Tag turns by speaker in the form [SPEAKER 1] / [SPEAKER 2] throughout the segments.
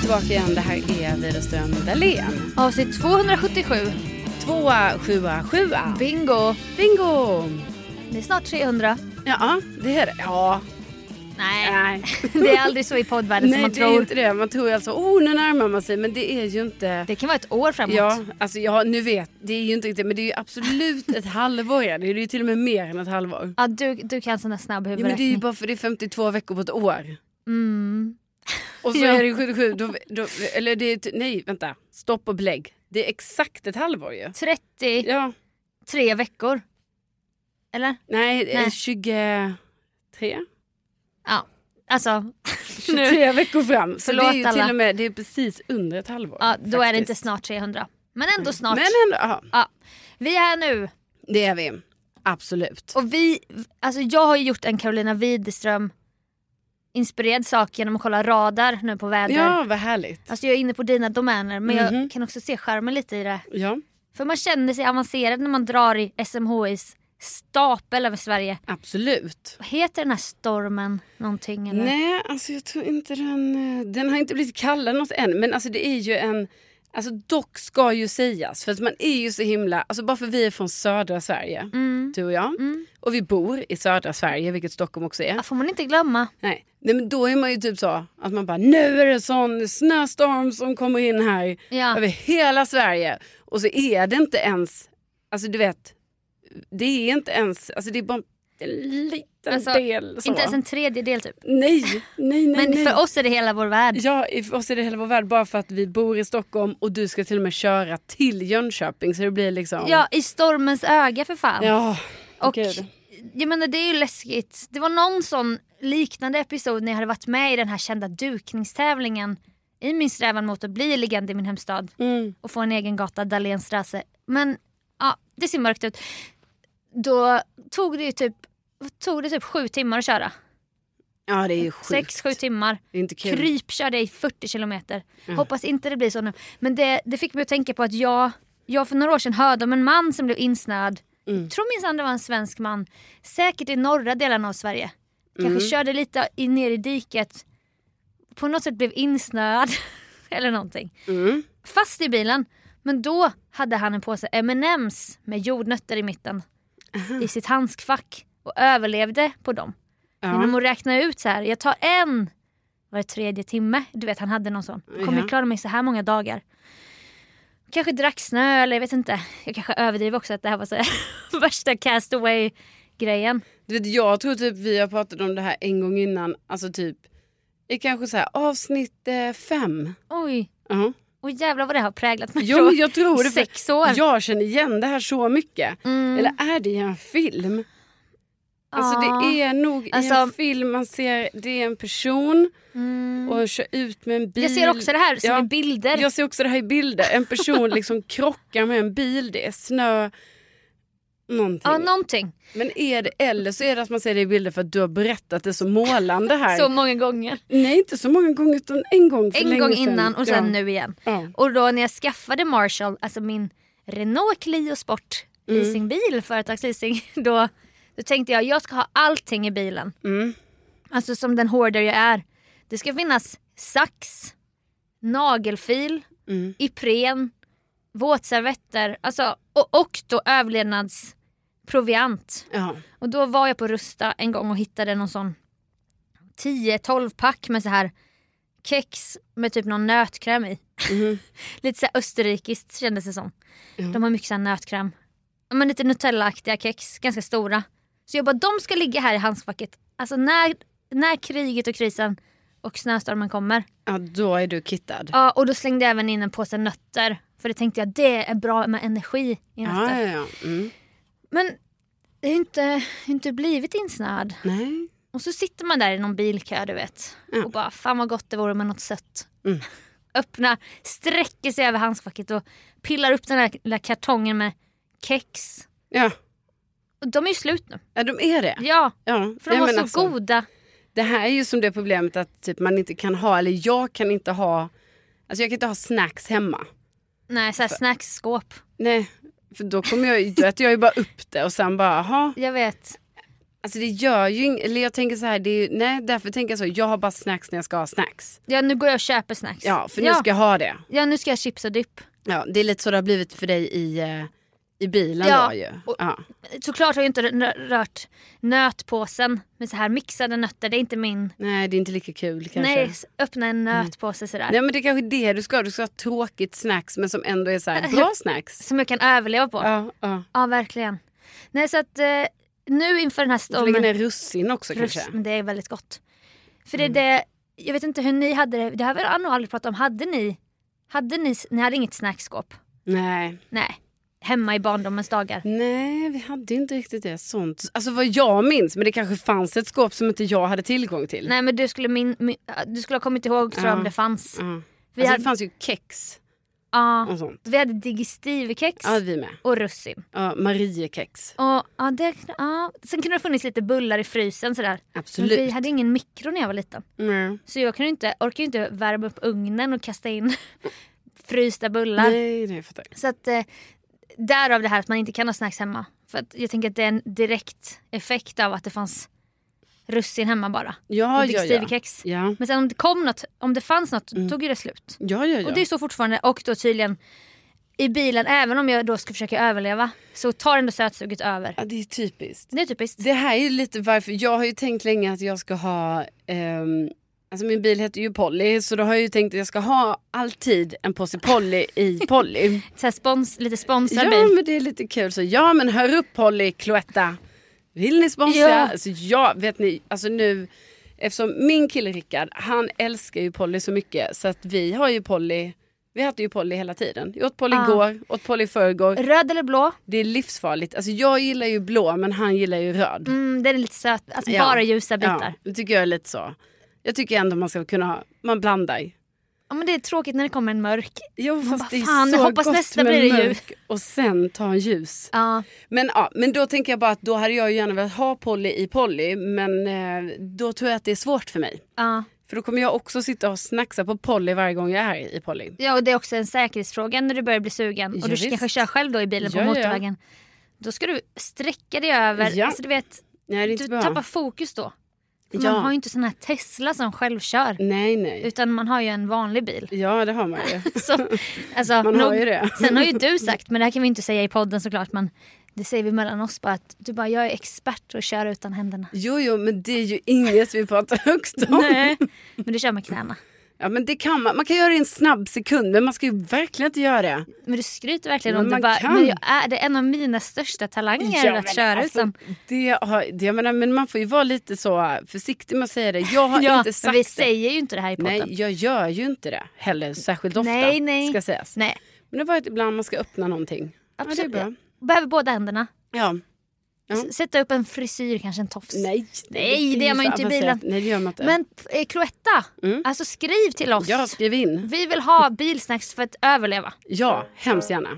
[SPEAKER 1] tillbaka igen. Det här är Widerström Dahlén.
[SPEAKER 2] Avsnitt 277.
[SPEAKER 1] Tvåa, sjua, sjua.
[SPEAKER 2] Bingo!
[SPEAKER 1] Bingo!
[SPEAKER 2] Det är snart 300.
[SPEAKER 1] Ja, det är det. Ja,
[SPEAKER 2] Nej,
[SPEAKER 1] nej.
[SPEAKER 2] det är aldrig så i poddvärlden som
[SPEAKER 1] Nej,
[SPEAKER 2] man
[SPEAKER 1] det är
[SPEAKER 2] tror.
[SPEAKER 1] inte det. Man tror ju alltså, oh nu närmar man sig. Men det är ju inte...
[SPEAKER 2] Det kan vara ett år framåt.
[SPEAKER 1] Ja, alltså ja, nu vet, det är ju inte riktigt, men det är ju absolut ett halvår. Ja. Det är ju till och med mer än ett halvår.
[SPEAKER 2] Ja, du, du kan sån där snabb
[SPEAKER 1] Ja, men det är
[SPEAKER 2] huvudräkning.
[SPEAKER 1] ju bara för det är 52 veckor på ett år.
[SPEAKER 2] mm.
[SPEAKER 1] Och så
[SPEAKER 2] Ja.
[SPEAKER 1] är det 77, då, då, eller det är, ty- nej vänta, stopp och belägg. Det är exakt ett halvår ju.
[SPEAKER 2] 33
[SPEAKER 1] Ja,
[SPEAKER 2] veckor. Eller?
[SPEAKER 1] nej, eh, det är
[SPEAKER 2] Nej.
[SPEAKER 1] 23.
[SPEAKER 2] Ja. Alltså,
[SPEAKER 1] 23 veckor fram. Så
[SPEAKER 2] Förlåt
[SPEAKER 1] det är ju till
[SPEAKER 2] alla.
[SPEAKER 1] och med, det är precis under ett halvår.
[SPEAKER 2] ja, då är det inte
[SPEAKER 1] faktiskt. Mm.
[SPEAKER 2] snart 300. Men ändå snart.
[SPEAKER 1] Men ändå, ja,
[SPEAKER 2] Vi är här nu.
[SPEAKER 1] det är vi. Absolut.
[SPEAKER 2] Och vi, alltså jag har ju gjort en Carolina Widerström inspirerad sak genom att kolla radar nu på väder.
[SPEAKER 1] Ja, vad härligt.
[SPEAKER 2] Alltså jag är inne på dina domäner men
[SPEAKER 1] Mhm.
[SPEAKER 2] jag kan också se skärmen lite i det.
[SPEAKER 1] Ja,
[SPEAKER 2] För man känner sig avancerad när man drar i SMHIs stapel över Sverige.
[SPEAKER 1] absolut.
[SPEAKER 2] Heter den här stormen någonting eller?
[SPEAKER 1] Nej, alltså jag tror inte den... eh, Den har inte blivit kallad något än. Men alltså det är ju en... Alltså dock ska ju sägas, för att man är ju så himla... Alltså bara för vi är från södra Sverige,
[SPEAKER 2] Mm.
[SPEAKER 1] du och jag.
[SPEAKER 2] Mm.
[SPEAKER 1] Och vi bor i södra Sverige, vilket Stockholm också är.
[SPEAKER 2] Ja, får man inte glömma.
[SPEAKER 1] Nej. Nej, men då är man ju typ så att man bara nu är det sån snöstorm som kommer in här
[SPEAKER 2] Ja.
[SPEAKER 1] över hela Sverige. Och så är det inte ens, alltså du vet, det är inte ens, alltså det är bara en liten
[SPEAKER 2] Alltså,
[SPEAKER 1] del. Så.
[SPEAKER 2] Inte ens en tredjedel typ.
[SPEAKER 1] Nej, nej, nej.
[SPEAKER 2] Men
[SPEAKER 1] nej.
[SPEAKER 2] för oss är det hela vår värld.
[SPEAKER 1] Ja, i- för oss är det hela vår värld bara för att vi bor i Stockholm och du ska till och med köra till Jönköping så det blir liksom...
[SPEAKER 2] Ja, i stormens öga för fan.
[SPEAKER 1] ja.
[SPEAKER 2] Och
[SPEAKER 1] gud.
[SPEAKER 2] jag menar det är ju läskigt. Det var någon sån liknande episod när jag hade varit med i den här kända dukningstävlingen i min strävan mot att bli legend i min hemstad
[SPEAKER 1] Mm.
[SPEAKER 2] och få en egen gata, Dahlénstrasse. Men ja, det ser mörkt ut. Då tog det ju typ, tog det typ sju timmar att köra.
[SPEAKER 1] ja, det är ju sjukt.
[SPEAKER 2] Sex, sju timmar.
[SPEAKER 1] Det är inte kul.
[SPEAKER 2] Kryp körde jag i 40 kilometer.
[SPEAKER 1] Mm.
[SPEAKER 2] Hoppas inte det blir så nu. Men det, det fick mig att tänka på att jag, jag för några år sedan hörde om en man som blev insnöad.
[SPEAKER 1] Mm.
[SPEAKER 2] Tror minsann det var en svensk man. Säkert i norra delarna av Sverige. Kanske
[SPEAKER 1] Mm.
[SPEAKER 2] körde lite i, ner i diket. På något sätt blev insnöad. Eller någonting.
[SPEAKER 1] Mm.
[SPEAKER 2] Fast i bilen. Men då hade han en påse M&M's med jordnötter i mitten. I sitt handskfack. Och överlevde på dem. Genom
[SPEAKER 1] Ja.
[SPEAKER 2] att räkna ut så här, jag tar en var tredje timme. Du vet han hade någon sån. Jag kommer
[SPEAKER 1] Ja.
[SPEAKER 2] klara mig så här många dagar. Kanske drack snö eller jag vet inte. Jag kanske överdriver också att det här var så här, värsta castaway grejen.
[SPEAKER 1] Du vet, jag tror typ vi har pratat om det här en gång innan, alltså typ i kanske så här avsnitt eh, fem.
[SPEAKER 2] Oj,
[SPEAKER 1] Ja.
[SPEAKER 2] och jävlar vad det har präglat mig.
[SPEAKER 1] Jo, men jag tror det. För
[SPEAKER 2] Sex år.
[SPEAKER 1] jag känner igen det här så mycket.
[SPEAKER 2] Mm.
[SPEAKER 1] Eller är det i en film? Alltså det är nog i en
[SPEAKER 2] Alltså-
[SPEAKER 1] film man ser, det är en person
[SPEAKER 2] Mm.
[SPEAKER 1] och kör ut med en bil.
[SPEAKER 2] Jag ser också det här som
[SPEAKER 1] Ja.
[SPEAKER 2] är bilder.
[SPEAKER 1] Jag ser också det här i bilder. En person liksom krockar med en bil, det är snö, någonting.
[SPEAKER 2] Ja, någonting.
[SPEAKER 1] Men är det, eller så är det att man ser det i bilder för att du har berättat det så målande här.
[SPEAKER 2] Så många gånger.
[SPEAKER 1] Nej, inte så många gånger utan en gång för
[SPEAKER 2] En
[SPEAKER 1] länge
[SPEAKER 2] gång
[SPEAKER 1] sedan.
[SPEAKER 2] innan och sen
[SPEAKER 1] ja.
[SPEAKER 2] nu igen.
[SPEAKER 1] Ja.
[SPEAKER 2] Och då när jag skaffade Marshall, alltså min Renault Clio Sport
[SPEAKER 1] Mm.
[SPEAKER 2] leasingbil, företagsleasing, då, då tänkte jag jag ska ha allting i bilen.
[SPEAKER 1] Mm.
[SPEAKER 2] Alltså som den hoarder jag är. Det ska finnas sax, nagelfil,
[SPEAKER 1] Mm.
[SPEAKER 2] Ipren, våtservetter alltså, och, och då överlevnadsproviant.
[SPEAKER 1] Ja.
[SPEAKER 2] Och då var jag på Rusta en gång och hittade någon sån 10-12 pack med så här kex med typ någon nötkräm i.
[SPEAKER 1] Mhm.
[SPEAKER 2] Lite så här österrikiskt kändes det som.
[SPEAKER 1] Ja.
[SPEAKER 2] De har mycket så här nötkräm. Ja, Men lite Nutella-aktiga kex, ganska stora. Så jag bara, de ska ligga här i handskfacket. Alltså när, när kriget och krisen och snöstormen kommer.
[SPEAKER 1] ja, då är du kittad.
[SPEAKER 2] Ja, och då slängde jag även in en påse nötter. För det tänkte jag, det är bra med energi i nötter.
[SPEAKER 1] ja, ja, ja. Mm.
[SPEAKER 2] Men det har ju inte, jag har inte blivit insnöad.
[SPEAKER 1] Nej.
[SPEAKER 2] Och så sitter man där i någon bilkö du vet.
[SPEAKER 1] Ja.
[SPEAKER 2] Och bara fan vad gott det vore med något sött.
[SPEAKER 1] Mm.
[SPEAKER 2] Öppna, sträcker sig över handskfacket och pillar upp den där lilla kartongen med kex.
[SPEAKER 1] Ja.
[SPEAKER 2] Och de är ju slut nu.
[SPEAKER 1] ja, de är det.
[SPEAKER 2] Ja,
[SPEAKER 1] Ja.
[SPEAKER 2] för de
[SPEAKER 1] Nej,
[SPEAKER 2] var
[SPEAKER 1] men
[SPEAKER 2] så
[SPEAKER 1] alltså,
[SPEAKER 2] goda.
[SPEAKER 1] Det här är ju som det problemet att typ, man inte kan ha, eller jag kan inte ha, alltså jag kan inte ha snacks hemma.
[SPEAKER 2] Nej, såhär snacksskåp.
[SPEAKER 1] Nej, för då kommer jag, ju- då äter jag ju bara upp det och sen bara, aha.
[SPEAKER 2] Jag vet.
[SPEAKER 1] Alltså det gör ju ing- eller jag tänker så här, det är ju, nej därför tänker jag så, jag har bara snacks när jag ska ha snacks.
[SPEAKER 2] Ja nu går jag och köper snacks.
[SPEAKER 1] Ja, för nu
[SPEAKER 2] ja.
[SPEAKER 1] ska jag ha det.
[SPEAKER 2] ja nu ska jag ha chips och dipp.
[SPEAKER 1] Ja, det är lite så det har blivit för dig i, eh, i bilen
[SPEAKER 2] Ja,
[SPEAKER 1] då ju.
[SPEAKER 2] och-
[SPEAKER 1] ja.
[SPEAKER 2] Såklart har jag inte rö- rört nötpåsen med så här mixade nötter. Det är inte min...
[SPEAKER 1] Nej, det är inte lika kul kanske. Mm.
[SPEAKER 2] Nej, s- öppna en nötpåse sådär.
[SPEAKER 1] Nej men det är kanske det du ska ha. Du ska ha tråkigt snacks men som ändå är så här bra snacks.
[SPEAKER 2] Som jag kan överleva på. Ja,
[SPEAKER 1] Ja, ja.
[SPEAKER 2] verkligen. Nej så att eh, nu inför den här
[SPEAKER 1] Du får lägga
[SPEAKER 2] stormen...
[SPEAKER 1] ner russin också
[SPEAKER 2] Plus,
[SPEAKER 1] kanske. Mm.
[SPEAKER 2] men det är väldigt gott. För det är det, jag vet inte hur ni hade det, det har vi nog aldrig pratat om. Hade ni, hade ni, ni hade inget snackskåp?
[SPEAKER 1] Nej.
[SPEAKER 2] Nej. Hemma i barndomens dagar.
[SPEAKER 1] Nej, vi hade ju inte riktigt det. Sånt. Alltså vad jag minns, men det kanske fanns ett skåp som inte jag hade tillgång till.
[SPEAKER 2] Nej men du skulle, min, min, du skulle ha kommit ihåg tror jag
[SPEAKER 1] Ja.
[SPEAKER 2] om det fanns.
[SPEAKER 1] Ja.
[SPEAKER 2] Vi,
[SPEAKER 1] alltså,
[SPEAKER 2] hade,
[SPEAKER 1] Det fanns ju kex
[SPEAKER 2] ja,
[SPEAKER 1] och sånt.
[SPEAKER 2] vi hade digestivekex
[SPEAKER 1] Ja, vi med.
[SPEAKER 2] och russin.
[SPEAKER 1] Ja, Mariekex.
[SPEAKER 2] Och, ja, det, ja. Sen kunde det ha funnits lite bullar i frysen sådär. Men vi
[SPEAKER 1] Absolut.
[SPEAKER 2] hade ingen mikro när jag var liten.
[SPEAKER 1] Mm.
[SPEAKER 2] Så jag kunde inte, orkade ju inte värma upp ugnen och kasta in frysta bullar.
[SPEAKER 1] Nej, det fattar jag.
[SPEAKER 2] Så att eh, därav det här att man inte kan ha snacks hemma. För att jag tänker att det är en direkt effekt av att det fanns russin hemma bara.
[SPEAKER 1] Ja,
[SPEAKER 2] och
[SPEAKER 1] ja, ja.
[SPEAKER 2] digestivekex.
[SPEAKER 1] Ja,
[SPEAKER 2] Men sen om det kom något, om det fanns något, då tog ju det slut.
[SPEAKER 1] ja, ja. ja.
[SPEAKER 2] Och det är så fortfarande och då tydligen i bilen, även om jag då ska försöka överleva, så tar ändå sötsuget över.
[SPEAKER 1] ja, det är typiskt.
[SPEAKER 2] Det är typiskt.
[SPEAKER 1] Det här är ju lite varför, jag har ju tänkt länge att jag ska ha, ehm, alltså min bil heter ju Polly så då har jag ju tänkt att jag ska ha alltid en påse Polly i Polly.
[SPEAKER 2] Så här spons, lite sponsrad
[SPEAKER 1] ja
[SPEAKER 2] bil.
[SPEAKER 1] men det är lite kul så, ja men hör upp Polly, Cloetta, vill ni sponsra?
[SPEAKER 2] Ja.
[SPEAKER 1] Alltså ja, vet ni, alltså nu, eftersom min kille Rickard, han älskar ju Polly så mycket så att vi har ju Polly, vi har haft ju Polly hela tiden. Jag åt Polly
[SPEAKER 2] Ah.
[SPEAKER 1] igår, åt Polly i förrgår.
[SPEAKER 2] Röd eller blå?
[SPEAKER 1] Det är livsfarligt. Alltså jag gillar ju blå men han gillar ju röd.
[SPEAKER 2] Mm, den är lite söt. Alltså
[SPEAKER 1] Ja.
[SPEAKER 2] bara ljusa bitar.
[SPEAKER 1] Ja,
[SPEAKER 2] Ja.
[SPEAKER 1] det tycker jag är lite så. Jag tycker ändå man ska kunna ha, man blandar.
[SPEAKER 2] men det är tråkigt när det kommer en mörk.
[SPEAKER 1] Jo fast
[SPEAKER 2] bara,
[SPEAKER 1] det är
[SPEAKER 2] "Fan,
[SPEAKER 1] så
[SPEAKER 2] jag hoppas
[SPEAKER 1] gott
[SPEAKER 2] nästa
[SPEAKER 1] med
[SPEAKER 2] blir det ljus."
[SPEAKER 1] mörk och sen ta en ljus.
[SPEAKER 2] Ja.
[SPEAKER 1] Men, ja, men då tänker jag bara att då hade jag ju gärna velat ha Polly i Polly men eh, då tror jag att det är svårt för mig.
[SPEAKER 2] ja.
[SPEAKER 1] För då kommer jag också sitta och snacksa på Polly varje gång jag är i Polly.
[SPEAKER 2] Ja och det är också en säkerhetsfråga när du börjar bli sugen
[SPEAKER 1] Ja,
[SPEAKER 2] och du
[SPEAKER 1] visst.
[SPEAKER 2] kanske kör själv då i bilen
[SPEAKER 1] Ja,
[SPEAKER 2] på
[SPEAKER 1] ja.
[SPEAKER 2] motorvägen. Då ska du sträcka dig över,
[SPEAKER 1] Ja.
[SPEAKER 2] alltså, du vet,
[SPEAKER 1] Nej det är
[SPEAKER 2] du
[SPEAKER 1] inte bra.
[SPEAKER 2] tappar fokus då. För
[SPEAKER 1] Ja.
[SPEAKER 2] Man har ju inte sån här Tesla som självkör
[SPEAKER 1] Nej nej.
[SPEAKER 2] utan man har ju en vanlig bil.
[SPEAKER 1] Ja det har man ju.
[SPEAKER 2] Så, alltså,
[SPEAKER 1] Man har
[SPEAKER 2] nog-
[SPEAKER 1] ju det.
[SPEAKER 2] Sen har ju du sagt, men det här kan vi inte säga i podden såklart men det säger vi mellan oss bara att du bara jag är expert på att köra utan händerna.
[SPEAKER 1] Jo jo men det är ju inget vi pratar högst om.
[SPEAKER 2] Nej. Men du kör med knäna.
[SPEAKER 1] Ja men det kan man, man kan göra det i en snabb sekund men man ska ju verkligen inte göra det.
[SPEAKER 2] Men du skryter verkligen
[SPEAKER 1] Men
[SPEAKER 2] om det.
[SPEAKER 1] man
[SPEAKER 2] Bara,
[SPEAKER 1] kan.
[SPEAKER 2] men jag är, det är en av mina största talanger
[SPEAKER 1] Ja, men
[SPEAKER 2] att köra liksom.
[SPEAKER 1] alltså,
[SPEAKER 2] utan.
[SPEAKER 1] Det har, det, jag menar, men man får ju vara lite så försiktig med att säga det. Jag har
[SPEAKER 2] Ja,
[SPEAKER 1] inte
[SPEAKER 2] men
[SPEAKER 1] sagt
[SPEAKER 2] vi
[SPEAKER 1] det.
[SPEAKER 2] säger ju inte det här i podden.
[SPEAKER 1] Nej, jag gör ju inte det heller särskilt ofta.
[SPEAKER 2] Nej, nej.
[SPEAKER 1] Ska sägas.
[SPEAKER 2] Nej,
[SPEAKER 1] Men det har varit ibland man ska öppna någonting.
[SPEAKER 2] absolut.
[SPEAKER 1] Ja, det är bra.
[SPEAKER 2] Behöver båda händerna.
[SPEAKER 1] Ja. Ja.
[SPEAKER 2] S- Sätta upp en frisyr, kanske en tofs.
[SPEAKER 1] Nej,
[SPEAKER 2] Nej, det
[SPEAKER 1] är
[SPEAKER 2] gör man
[SPEAKER 1] så
[SPEAKER 2] ju inte i
[SPEAKER 1] avancerat.
[SPEAKER 2] bilen.
[SPEAKER 1] Nej, det gör man inte.
[SPEAKER 2] Men eh, Cloetta,
[SPEAKER 1] Mm.
[SPEAKER 2] alltså skriv till oss.
[SPEAKER 1] Ja, skriv in.
[SPEAKER 2] Vi vill ha bilsnacks för att överleva.
[SPEAKER 1] Ja, hemskt gärna.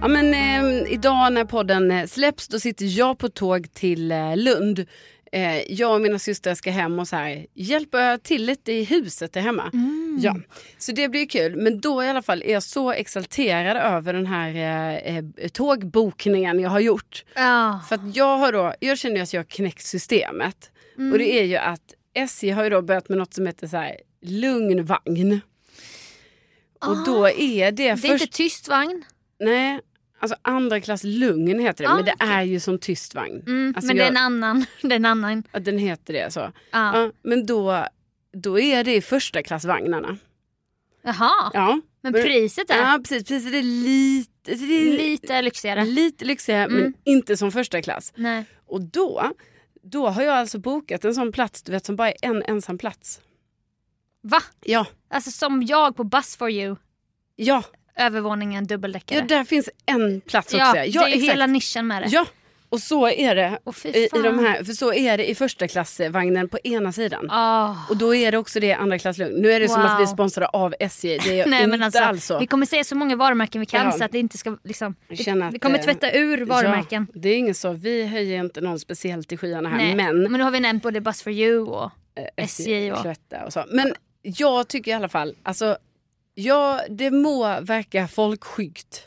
[SPEAKER 1] Ja, men, eh, idag när podden eh, släpps då sitter jag på tåg till eh, Lund. Eh, jag och mina systrar ska hem och så här, hjälpa till lite i huset där hemma.
[SPEAKER 2] Mm.
[SPEAKER 1] Ja, så det blir kul. Men då i alla fall är jag så exalterad över den här eh, eh, tågbokningen jag har gjort.
[SPEAKER 2] Ja.
[SPEAKER 1] För att jag har då, jag känner ju att jag har knäckt systemet.
[SPEAKER 2] Mm.
[SPEAKER 1] Och det är ju att SJ har ju då börjat med något som heter så här lugn vagn. Och då är det,
[SPEAKER 2] Ah. Det är
[SPEAKER 1] först...
[SPEAKER 2] inte tyst vagn.
[SPEAKER 1] Nej, alltså andra klass lugn heter det.
[SPEAKER 2] Ah,
[SPEAKER 1] men det
[SPEAKER 2] okej.
[SPEAKER 1] är ju som tyst vagn.
[SPEAKER 2] Mm,
[SPEAKER 1] Alltså
[SPEAKER 2] men det är
[SPEAKER 1] jag-
[SPEAKER 2] en annan. Det är en annan.
[SPEAKER 1] Att den heter det
[SPEAKER 2] Ah.
[SPEAKER 1] så.
[SPEAKER 2] Ja.
[SPEAKER 1] Ja, men då, då är det i första klassvagnarna.
[SPEAKER 2] Jaha,
[SPEAKER 1] Ja,
[SPEAKER 2] men
[SPEAKER 1] men-
[SPEAKER 2] priset är
[SPEAKER 1] ja precis. precis det är lite, det är
[SPEAKER 2] lite lyxigare.
[SPEAKER 1] lite lyxigare men
[SPEAKER 2] Mm.
[SPEAKER 1] inte som första klass.
[SPEAKER 2] Nej.
[SPEAKER 1] Och då, då har jag alltså bokat en sån plats du vet som bara är en ensam plats.
[SPEAKER 2] Va?
[SPEAKER 1] Ja,
[SPEAKER 2] Alltså som jag på Bus for you,
[SPEAKER 1] ja,
[SPEAKER 2] övervåningen
[SPEAKER 1] ja
[SPEAKER 2] dubbeldäckare.
[SPEAKER 1] där finns en plats också.
[SPEAKER 2] Ja,
[SPEAKER 1] ja,
[SPEAKER 2] det är ju
[SPEAKER 1] exakt.
[SPEAKER 2] hela nischen med det.
[SPEAKER 1] Ja, och så är det
[SPEAKER 2] Åh, fy
[SPEAKER 1] i, i
[SPEAKER 2] fan.
[SPEAKER 1] de här, för så är det i första klassvagnen på ena sidan.
[SPEAKER 2] Åh.
[SPEAKER 1] Och då är det också det andra klass lugn. Nu är det som
[SPEAKER 2] Wow.
[SPEAKER 1] att vi är sponsrade av SJ. Det är
[SPEAKER 2] Nej,
[SPEAKER 1] inte
[SPEAKER 2] men alltså,
[SPEAKER 1] alls så.
[SPEAKER 2] Vi kommer säga så många varumärken vi kan
[SPEAKER 1] Ja.
[SPEAKER 2] så att det inte ska liksom,
[SPEAKER 1] Jag känner att,
[SPEAKER 2] Vi kommer
[SPEAKER 1] eh,
[SPEAKER 2] tvätta ur varumärken.
[SPEAKER 1] Ja, det är inget så. Vi höjer inte någon speciellt i skyarna här.
[SPEAKER 2] Nej,
[SPEAKER 1] Men,
[SPEAKER 2] men nu har vi nämnt både Buzz for you och
[SPEAKER 1] eh,
[SPEAKER 2] SJ och-
[SPEAKER 1] Cloetta och så. Men jag tycker i alla fall, alltså Ja, det må verka folkskyggt.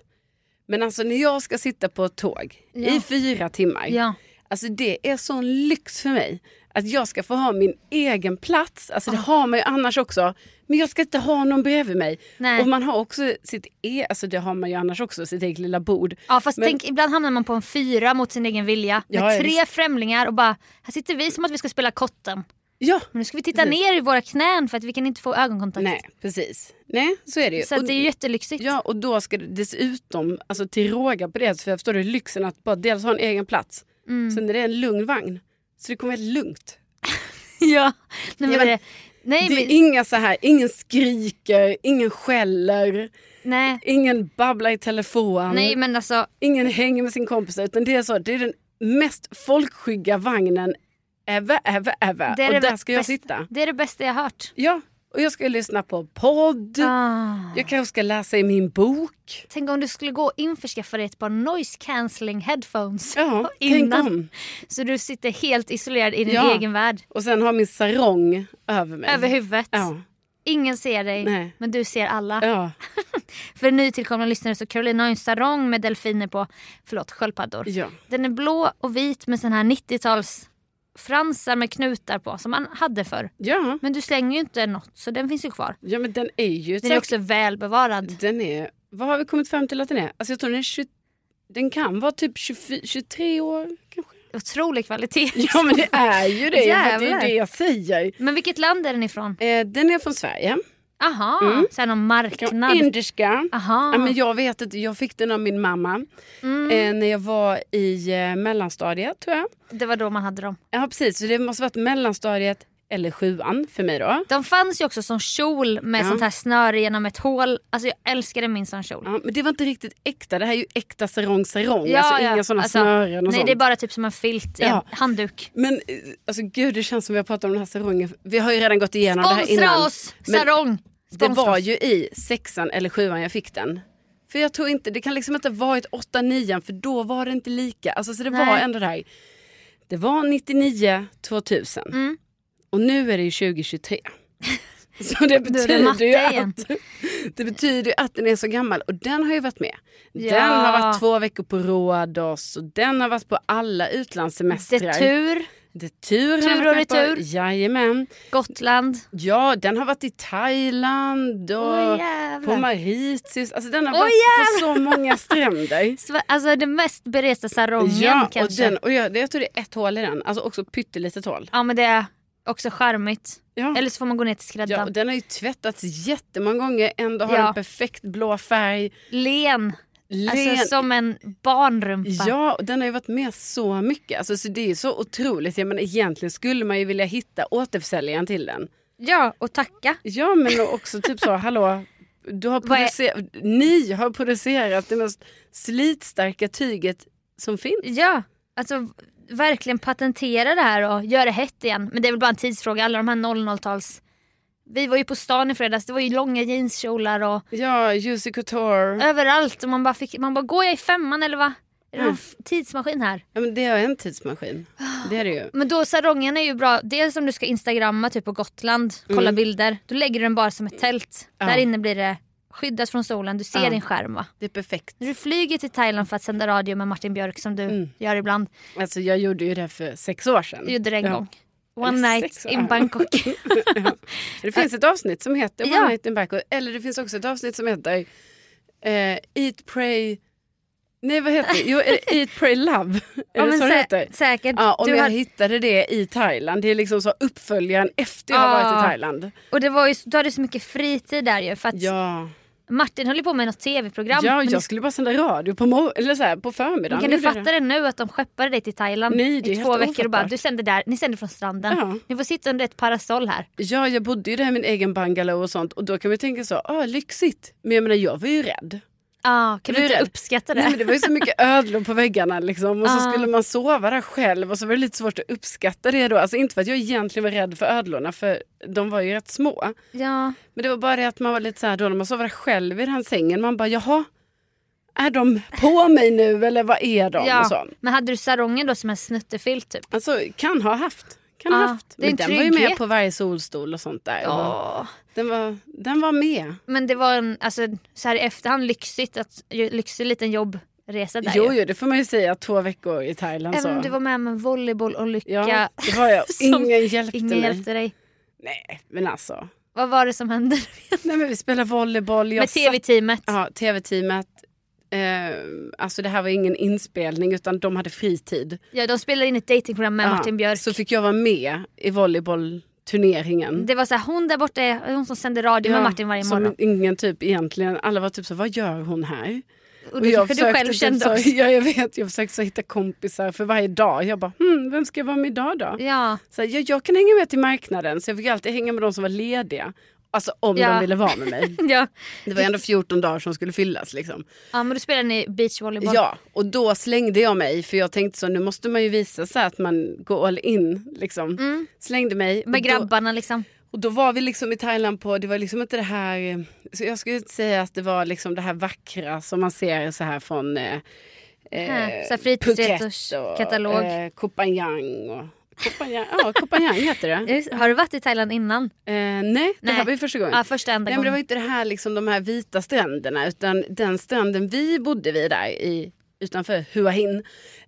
[SPEAKER 1] Men alltså när jag ska sitta på ett tåg
[SPEAKER 2] Ja.
[SPEAKER 1] i fyra timmar.
[SPEAKER 2] Ja.
[SPEAKER 1] Alltså det är sån lyx för mig. Att jag ska få ha min egen plats. Alltså det
[SPEAKER 2] Ah.
[SPEAKER 1] har man ju annars också. Men jag ska inte ha någon bredvid mig.
[SPEAKER 2] Nej.
[SPEAKER 1] Och man har också sitt e- alltså det har man ju annars också, sitt eget lilla bord.
[SPEAKER 2] Ja fast
[SPEAKER 1] Men-
[SPEAKER 2] tänk ibland hamnar man på en fyra mot sin egen vilja med
[SPEAKER 1] Ja, ja,
[SPEAKER 2] tre främlingar och bara här sitter vi som att vi ska spela kotten.
[SPEAKER 1] Ja,
[SPEAKER 2] Men nu ska vi titta
[SPEAKER 1] Precis.
[SPEAKER 2] ner i våra knän för att vi kan inte få ögonkontakt.
[SPEAKER 1] nej precis. Nej, så är det ju.
[SPEAKER 2] Så att
[SPEAKER 1] Och-
[SPEAKER 2] det är ju jättelyxigt.
[SPEAKER 1] Ja, och då ska du dessutom, alltså till råga på det, för jag förstår du lyxen att bara dels ha en egen plats,
[SPEAKER 2] Mm.
[SPEAKER 1] sen är det en lugn vagn. Så det kommer väldigt lugnt.
[SPEAKER 2] ja. Nej,
[SPEAKER 1] Ja,
[SPEAKER 2] men
[SPEAKER 1] men-
[SPEAKER 2] det, nej,
[SPEAKER 1] Det är
[SPEAKER 2] men,
[SPEAKER 1] inga så här, ingen skriker, ingen skäller,
[SPEAKER 2] nej,
[SPEAKER 1] ingen babblar i telefon,
[SPEAKER 2] nej men alltså
[SPEAKER 1] ingen hänger med sin kompis. Utan det är så, det är den mest folkskygga vagnen ever, ever, ever.
[SPEAKER 2] Det är det
[SPEAKER 1] och där ska jag
[SPEAKER 2] bästa.
[SPEAKER 1] sitta.
[SPEAKER 2] det är det bästa jag har hört.
[SPEAKER 1] Ja, och jag ska lyssna på podd,
[SPEAKER 2] Ah.
[SPEAKER 1] jag kanske ska läsa i min bok.
[SPEAKER 2] Tänk om du skulle gå och införskaffa dig ett par noise cancelling headphones.
[SPEAKER 1] Ja,
[SPEAKER 2] Innan.
[SPEAKER 1] tänk om.
[SPEAKER 2] Så du sitter helt isolerad i din
[SPEAKER 1] Ja.
[SPEAKER 2] egen värld.
[SPEAKER 1] Och sen ha min sarong över mig.
[SPEAKER 2] Över huvudet.
[SPEAKER 1] Ja.
[SPEAKER 2] Ingen ser dig
[SPEAKER 1] Nej.
[SPEAKER 2] men du ser alla.
[SPEAKER 1] Ja,
[SPEAKER 2] För nytillkomna lyssnare så Caroline har ju en sarong med delfiner på. Förlåt, sköldpaddor.
[SPEAKER 1] ja.
[SPEAKER 2] Den är blå och vit med sån här 90-tals fransar med knutar på som man hade förr.
[SPEAKER 1] ja.
[SPEAKER 2] Men du slänger ju inte något så den finns ju kvar.
[SPEAKER 1] ja men den är ju...
[SPEAKER 2] Den är
[SPEAKER 1] säkert-
[SPEAKER 2] också välbevarad.
[SPEAKER 1] den är... Vad har vi kommit fram till att den är? Alltså jag tror den är 20... Den kan vara typ 24, 23 år kanske.
[SPEAKER 2] Otrolig kvalitet.
[SPEAKER 1] Ja men det är ju det. för det är
[SPEAKER 2] Jävlar.
[SPEAKER 1] ju det jag säger.
[SPEAKER 2] Men vilket land är den ifrån?
[SPEAKER 1] Eh, den är från Sverige.
[SPEAKER 2] Aha,
[SPEAKER 1] Mm.
[SPEAKER 2] så här någon
[SPEAKER 1] Kan-
[SPEAKER 2] marknad.
[SPEAKER 1] Indiska.
[SPEAKER 2] Aha.
[SPEAKER 1] Ja, men jag vet inte, jag fick den av min mamma
[SPEAKER 2] Ah. mm.
[SPEAKER 1] eh, när jag var i eh, mellanstadiet tror jag.
[SPEAKER 2] Det var då man hade dem.
[SPEAKER 1] Ja precis, så det måste varit mellanstadiet eller sjuan för mig då.
[SPEAKER 2] De fanns ju också som kjol med
[SPEAKER 1] Ja.
[SPEAKER 2] sånt här snöre genom ett hål. Alltså jag älskade min sån kjol.
[SPEAKER 1] Ja, men det var inte riktigt äkta, det här är ju äkta sarong sarong.
[SPEAKER 2] Ja,
[SPEAKER 1] alltså
[SPEAKER 2] ja.
[SPEAKER 1] inga sådana
[SPEAKER 2] Alltså,
[SPEAKER 1] snören och
[SPEAKER 2] Nej
[SPEAKER 1] sånt.
[SPEAKER 2] det är bara typ som en filt i
[SPEAKER 1] Ja.
[SPEAKER 2] en handduk.
[SPEAKER 1] Men eh, alltså gud det känns som vi har pratat om den här sarongen. Vi har ju redan gått igenom det här
[SPEAKER 2] Sponsra
[SPEAKER 1] innan.
[SPEAKER 2] oss!
[SPEAKER 1] Men
[SPEAKER 2] Sarong!
[SPEAKER 1] Det
[SPEAKER 2] Sponsra
[SPEAKER 1] var
[SPEAKER 2] oss.
[SPEAKER 1] ju i sexan eller sjuan jag fick den. För jag tror inte, det kan liksom inte ha varit åtta, nian för då var det inte lika. Alltså så det var
[SPEAKER 2] Nej.
[SPEAKER 1] ändå det här. Det var 99, 2000.
[SPEAKER 2] Mm.
[SPEAKER 1] Och nu är det ju 2023. Så det
[SPEAKER 2] det
[SPEAKER 1] betyder,
[SPEAKER 2] matte
[SPEAKER 1] ju
[SPEAKER 2] igen.
[SPEAKER 1] att, det betyder ju att den är så gammal och den har ju varit med.
[SPEAKER 2] Ja.
[SPEAKER 1] Den har varit två veckor på Rhodos och den har varit på alla utlandssemestrar.
[SPEAKER 2] Det tur,
[SPEAKER 1] Det är tur han
[SPEAKER 2] Tur
[SPEAKER 1] har
[SPEAKER 2] och
[SPEAKER 1] varit med på.
[SPEAKER 2] retur.
[SPEAKER 1] Jajamän.
[SPEAKER 2] Gotland.
[SPEAKER 1] Ja, den har varit i Thailand och
[SPEAKER 2] Åh
[SPEAKER 1] på
[SPEAKER 2] jävlar.
[SPEAKER 1] Mauritius. Alltså den har
[SPEAKER 2] Åh,
[SPEAKER 1] varit på så många stränder.
[SPEAKER 2] Sve- Alltså den mest beresta sarongen
[SPEAKER 1] ja, och,
[SPEAKER 2] kanske.
[SPEAKER 1] den, och jag, jag tror det är ett hål i den. Alltså också pyttelitet hål.
[SPEAKER 2] Ja men det är också charmigt.
[SPEAKER 1] Ja.
[SPEAKER 2] Eller så får man gå ner till
[SPEAKER 1] Ja,
[SPEAKER 2] skräddan.
[SPEAKER 1] och den har ju tvättats jättemånga gånger. Ändå har
[SPEAKER 2] Ja.
[SPEAKER 1] den perfekt blå färg.
[SPEAKER 2] Len.
[SPEAKER 1] Len.
[SPEAKER 2] Alltså som en barnrumpa.
[SPEAKER 1] Ja, och den har ju varit med så mycket. Alltså, så det är så otroligt. Jag menar, egentligen skulle man ju vilja hitta återförsäljaren till den.
[SPEAKER 2] ja och tacka.
[SPEAKER 1] Ja, men också typ så, hallå. Du har
[SPEAKER 2] Vad är-
[SPEAKER 1] producerat, ni har producerat det mest slitstarka tyget som finns.
[SPEAKER 2] Ja, alltså v- verkligen patentera det här och göra det hett igen. Men det är väl bara en tidsfråga, alla de här 00-tals... Vi var ju på stan i fredags, det var ju långa jeanskjolar och
[SPEAKER 1] Ja, Jussi Couture.
[SPEAKER 2] överallt. Och man bara, fick, man bara, går jag i femman eller vad? Är det
[SPEAKER 1] Ja.
[SPEAKER 2] en f- tidsmaskin här?
[SPEAKER 1] Ja, men det är en tidsmaskin. Det är det ju.
[SPEAKER 2] Men då sarongen är ju bra, dels om du ska instagramma typ på Gotland, kolla
[SPEAKER 1] Mm.
[SPEAKER 2] bilder. Då lägger du den bara som ett tält.
[SPEAKER 1] Ja.
[SPEAKER 2] Där inne blir det skyddat från solen, du ser
[SPEAKER 1] Ja.
[SPEAKER 2] din skärm va?
[SPEAKER 1] Det är perfekt.
[SPEAKER 2] När du flyger till Thailand för att sända radio med Martin Björk som du
[SPEAKER 1] Mm.
[SPEAKER 2] gör ibland.
[SPEAKER 1] Alltså, jag gjorde ju det för sex år sedan.
[SPEAKER 2] Du gjorde det en
[SPEAKER 1] Ja.
[SPEAKER 2] gång. One
[SPEAKER 1] Eller
[SPEAKER 2] night
[SPEAKER 1] sex,
[SPEAKER 2] in
[SPEAKER 1] ja.
[SPEAKER 2] Bangkok.
[SPEAKER 1] Det finns ett avsnitt som heter One
[SPEAKER 2] Ja.
[SPEAKER 1] Night in Bangkok. Eller det finns också ett avsnitt som heter eh, Eat, Pray... Nej, vad heter det? Jo, är det Eat, Pray, Love. Är det
[SPEAKER 2] men
[SPEAKER 1] så det
[SPEAKER 2] sä-
[SPEAKER 1] heter?
[SPEAKER 2] Säkert.
[SPEAKER 1] Ja, om
[SPEAKER 2] du
[SPEAKER 1] jag
[SPEAKER 2] har-
[SPEAKER 1] hittade det i Thailand. Det är liksom så uppföljaren efter jag har
[SPEAKER 2] Ah.
[SPEAKER 1] varit i Thailand.
[SPEAKER 2] Och det var ju, du hade så mycket fritid där ju. För att
[SPEAKER 1] Ja,
[SPEAKER 2] Martin höll ju på med något tv-program.
[SPEAKER 1] ja
[SPEAKER 2] men det-
[SPEAKER 1] jag skulle bara sända radio på, mor- eller så här, på förmiddagen.
[SPEAKER 2] men kan du
[SPEAKER 1] Gjorde jag
[SPEAKER 2] fatta det. nu att de skeppade dig till Thailand
[SPEAKER 1] Nej, det är
[SPEAKER 2] i
[SPEAKER 1] helt
[SPEAKER 2] två veckor och bara
[SPEAKER 1] ofattbart.
[SPEAKER 2] du sänder där, ni sänder från stranden.
[SPEAKER 1] Ja.
[SPEAKER 2] Ni får sitta under ett parasoll här.
[SPEAKER 1] Ja, jag bodde ju där i min egen bungalow och sånt. Och då kan man ju tänka så, ah, lyxigt. Men jag menar, jag var ju rädd.
[SPEAKER 2] Ja, kan
[SPEAKER 1] Blir
[SPEAKER 2] du inte
[SPEAKER 1] du rädd?
[SPEAKER 2] uppskatta det?
[SPEAKER 1] Nej, men det var ju så mycket ödlor på väggarna liksom. Och så
[SPEAKER 2] Ah.
[SPEAKER 1] skulle man sova där själv och så var det lite svårt att uppskatta det då. Alltså inte för att jag egentligen var rädd för ödlorna för de var ju rätt små.
[SPEAKER 2] Ja.
[SPEAKER 1] Men det var bara det att man var lite så här då när man sov där själv i den här sängen. Man bara jaha, är de på mig nu eller vad är de? Och så.
[SPEAKER 2] ja. Men hade du sarongen då som en snuttefilt typ?
[SPEAKER 1] Alltså kan ha haft. Kan ha
[SPEAKER 2] Ja,
[SPEAKER 1] haft.
[SPEAKER 2] Ah, det är
[SPEAKER 1] Men
[SPEAKER 2] en
[SPEAKER 1] den var ju med
[SPEAKER 2] trygghet.
[SPEAKER 1] på varje solstol och sånt där. Och
[SPEAKER 2] Ja.
[SPEAKER 1] Den, var, den var med.
[SPEAKER 2] Men det var en, alltså, så här i efterhand lyxigt, att, ju- lyxig liten jobbresa där
[SPEAKER 1] Jo,
[SPEAKER 2] ju.
[SPEAKER 1] jo, det får man ju säga. Två veckor i Thailand
[SPEAKER 2] Även
[SPEAKER 1] så.
[SPEAKER 2] om du var med om en volleybollolycka.
[SPEAKER 1] ja, det var jag.
[SPEAKER 2] Som
[SPEAKER 1] Ingen hjälpte
[SPEAKER 2] Ingen
[SPEAKER 1] mig.
[SPEAKER 2] hjälpte dig.
[SPEAKER 1] Nej, men alltså.
[SPEAKER 2] Vad var det som hände
[SPEAKER 1] Nej, men vi spelade volleyboll. Jag
[SPEAKER 2] med
[SPEAKER 1] satt
[SPEAKER 2] tv-teamet?
[SPEAKER 1] Ja, tv-teamet. Eh, alltså det här var ingen inspelning utan de hade fritid.
[SPEAKER 2] Ja, de spelade in ett datingprogram med
[SPEAKER 1] Ja,
[SPEAKER 2] Martin Björk.
[SPEAKER 1] Ah, Så fick jag vara med i volleybollturneringen.
[SPEAKER 2] Det var så här, hon där borta, är- hon som sänder radio med
[SPEAKER 1] Ja,
[SPEAKER 2] Mm. Martin varje
[SPEAKER 1] som
[SPEAKER 2] morgon.
[SPEAKER 1] ingen typ egentligen, alla var typ så vad gör hon här?
[SPEAKER 2] Och det kanske du själv
[SPEAKER 1] typ
[SPEAKER 2] kände
[SPEAKER 1] så,
[SPEAKER 2] också.
[SPEAKER 1] Ja jag vet, jag försökte så hitta kompisar för varje dag. Jag bara, hmm, vem ska jag vara med idag då?
[SPEAKER 2] Ja,
[SPEAKER 1] Så jag, jag kan hänga med till marknaden så jag fick alltid hänga med de som var lediga. Alltså om
[SPEAKER 2] Ja.
[SPEAKER 1] de ville vara med mig.
[SPEAKER 2] ja.
[SPEAKER 1] Det var ändå 14 dagar som skulle fyllas liksom.
[SPEAKER 2] ja, men då spelade ni beachvolleyboll.
[SPEAKER 1] Ja, och då slängde jag mig för jag tänkte så nu måste man ju visa så här att man går all in. Liksom.
[SPEAKER 2] Mm,
[SPEAKER 1] Slängde mig.
[SPEAKER 2] med
[SPEAKER 1] och, då,
[SPEAKER 2] grabbarna liksom.
[SPEAKER 1] och då var vi liksom i Thailand på, det var liksom inte det här, eh, så jag skulle inte säga att det var liksom det här vackra som man ser så här från eh,
[SPEAKER 2] Här,
[SPEAKER 1] eh,
[SPEAKER 2] så här
[SPEAKER 1] Phuket
[SPEAKER 2] fritidsretorskatalog.
[SPEAKER 1] och eh, Koh Phangan och Koh Phangan, ja, Koh Phangan heter det.
[SPEAKER 2] Just- Har du varit i Thailand innan?
[SPEAKER 1] Eh, nej, det här
[SPEAKER 2] Nej.
[SPEAKER 1] var ju första gången.
[SPEAKER 2] Ja, första enda
[SPEAKER 1] Nej, men det
[SPEAKER 2] gången.
[SPEAKER 1] var inte det här, liksom, de här vita stränderna utan den stranden vi bodde vid där i, utanför Hua Hin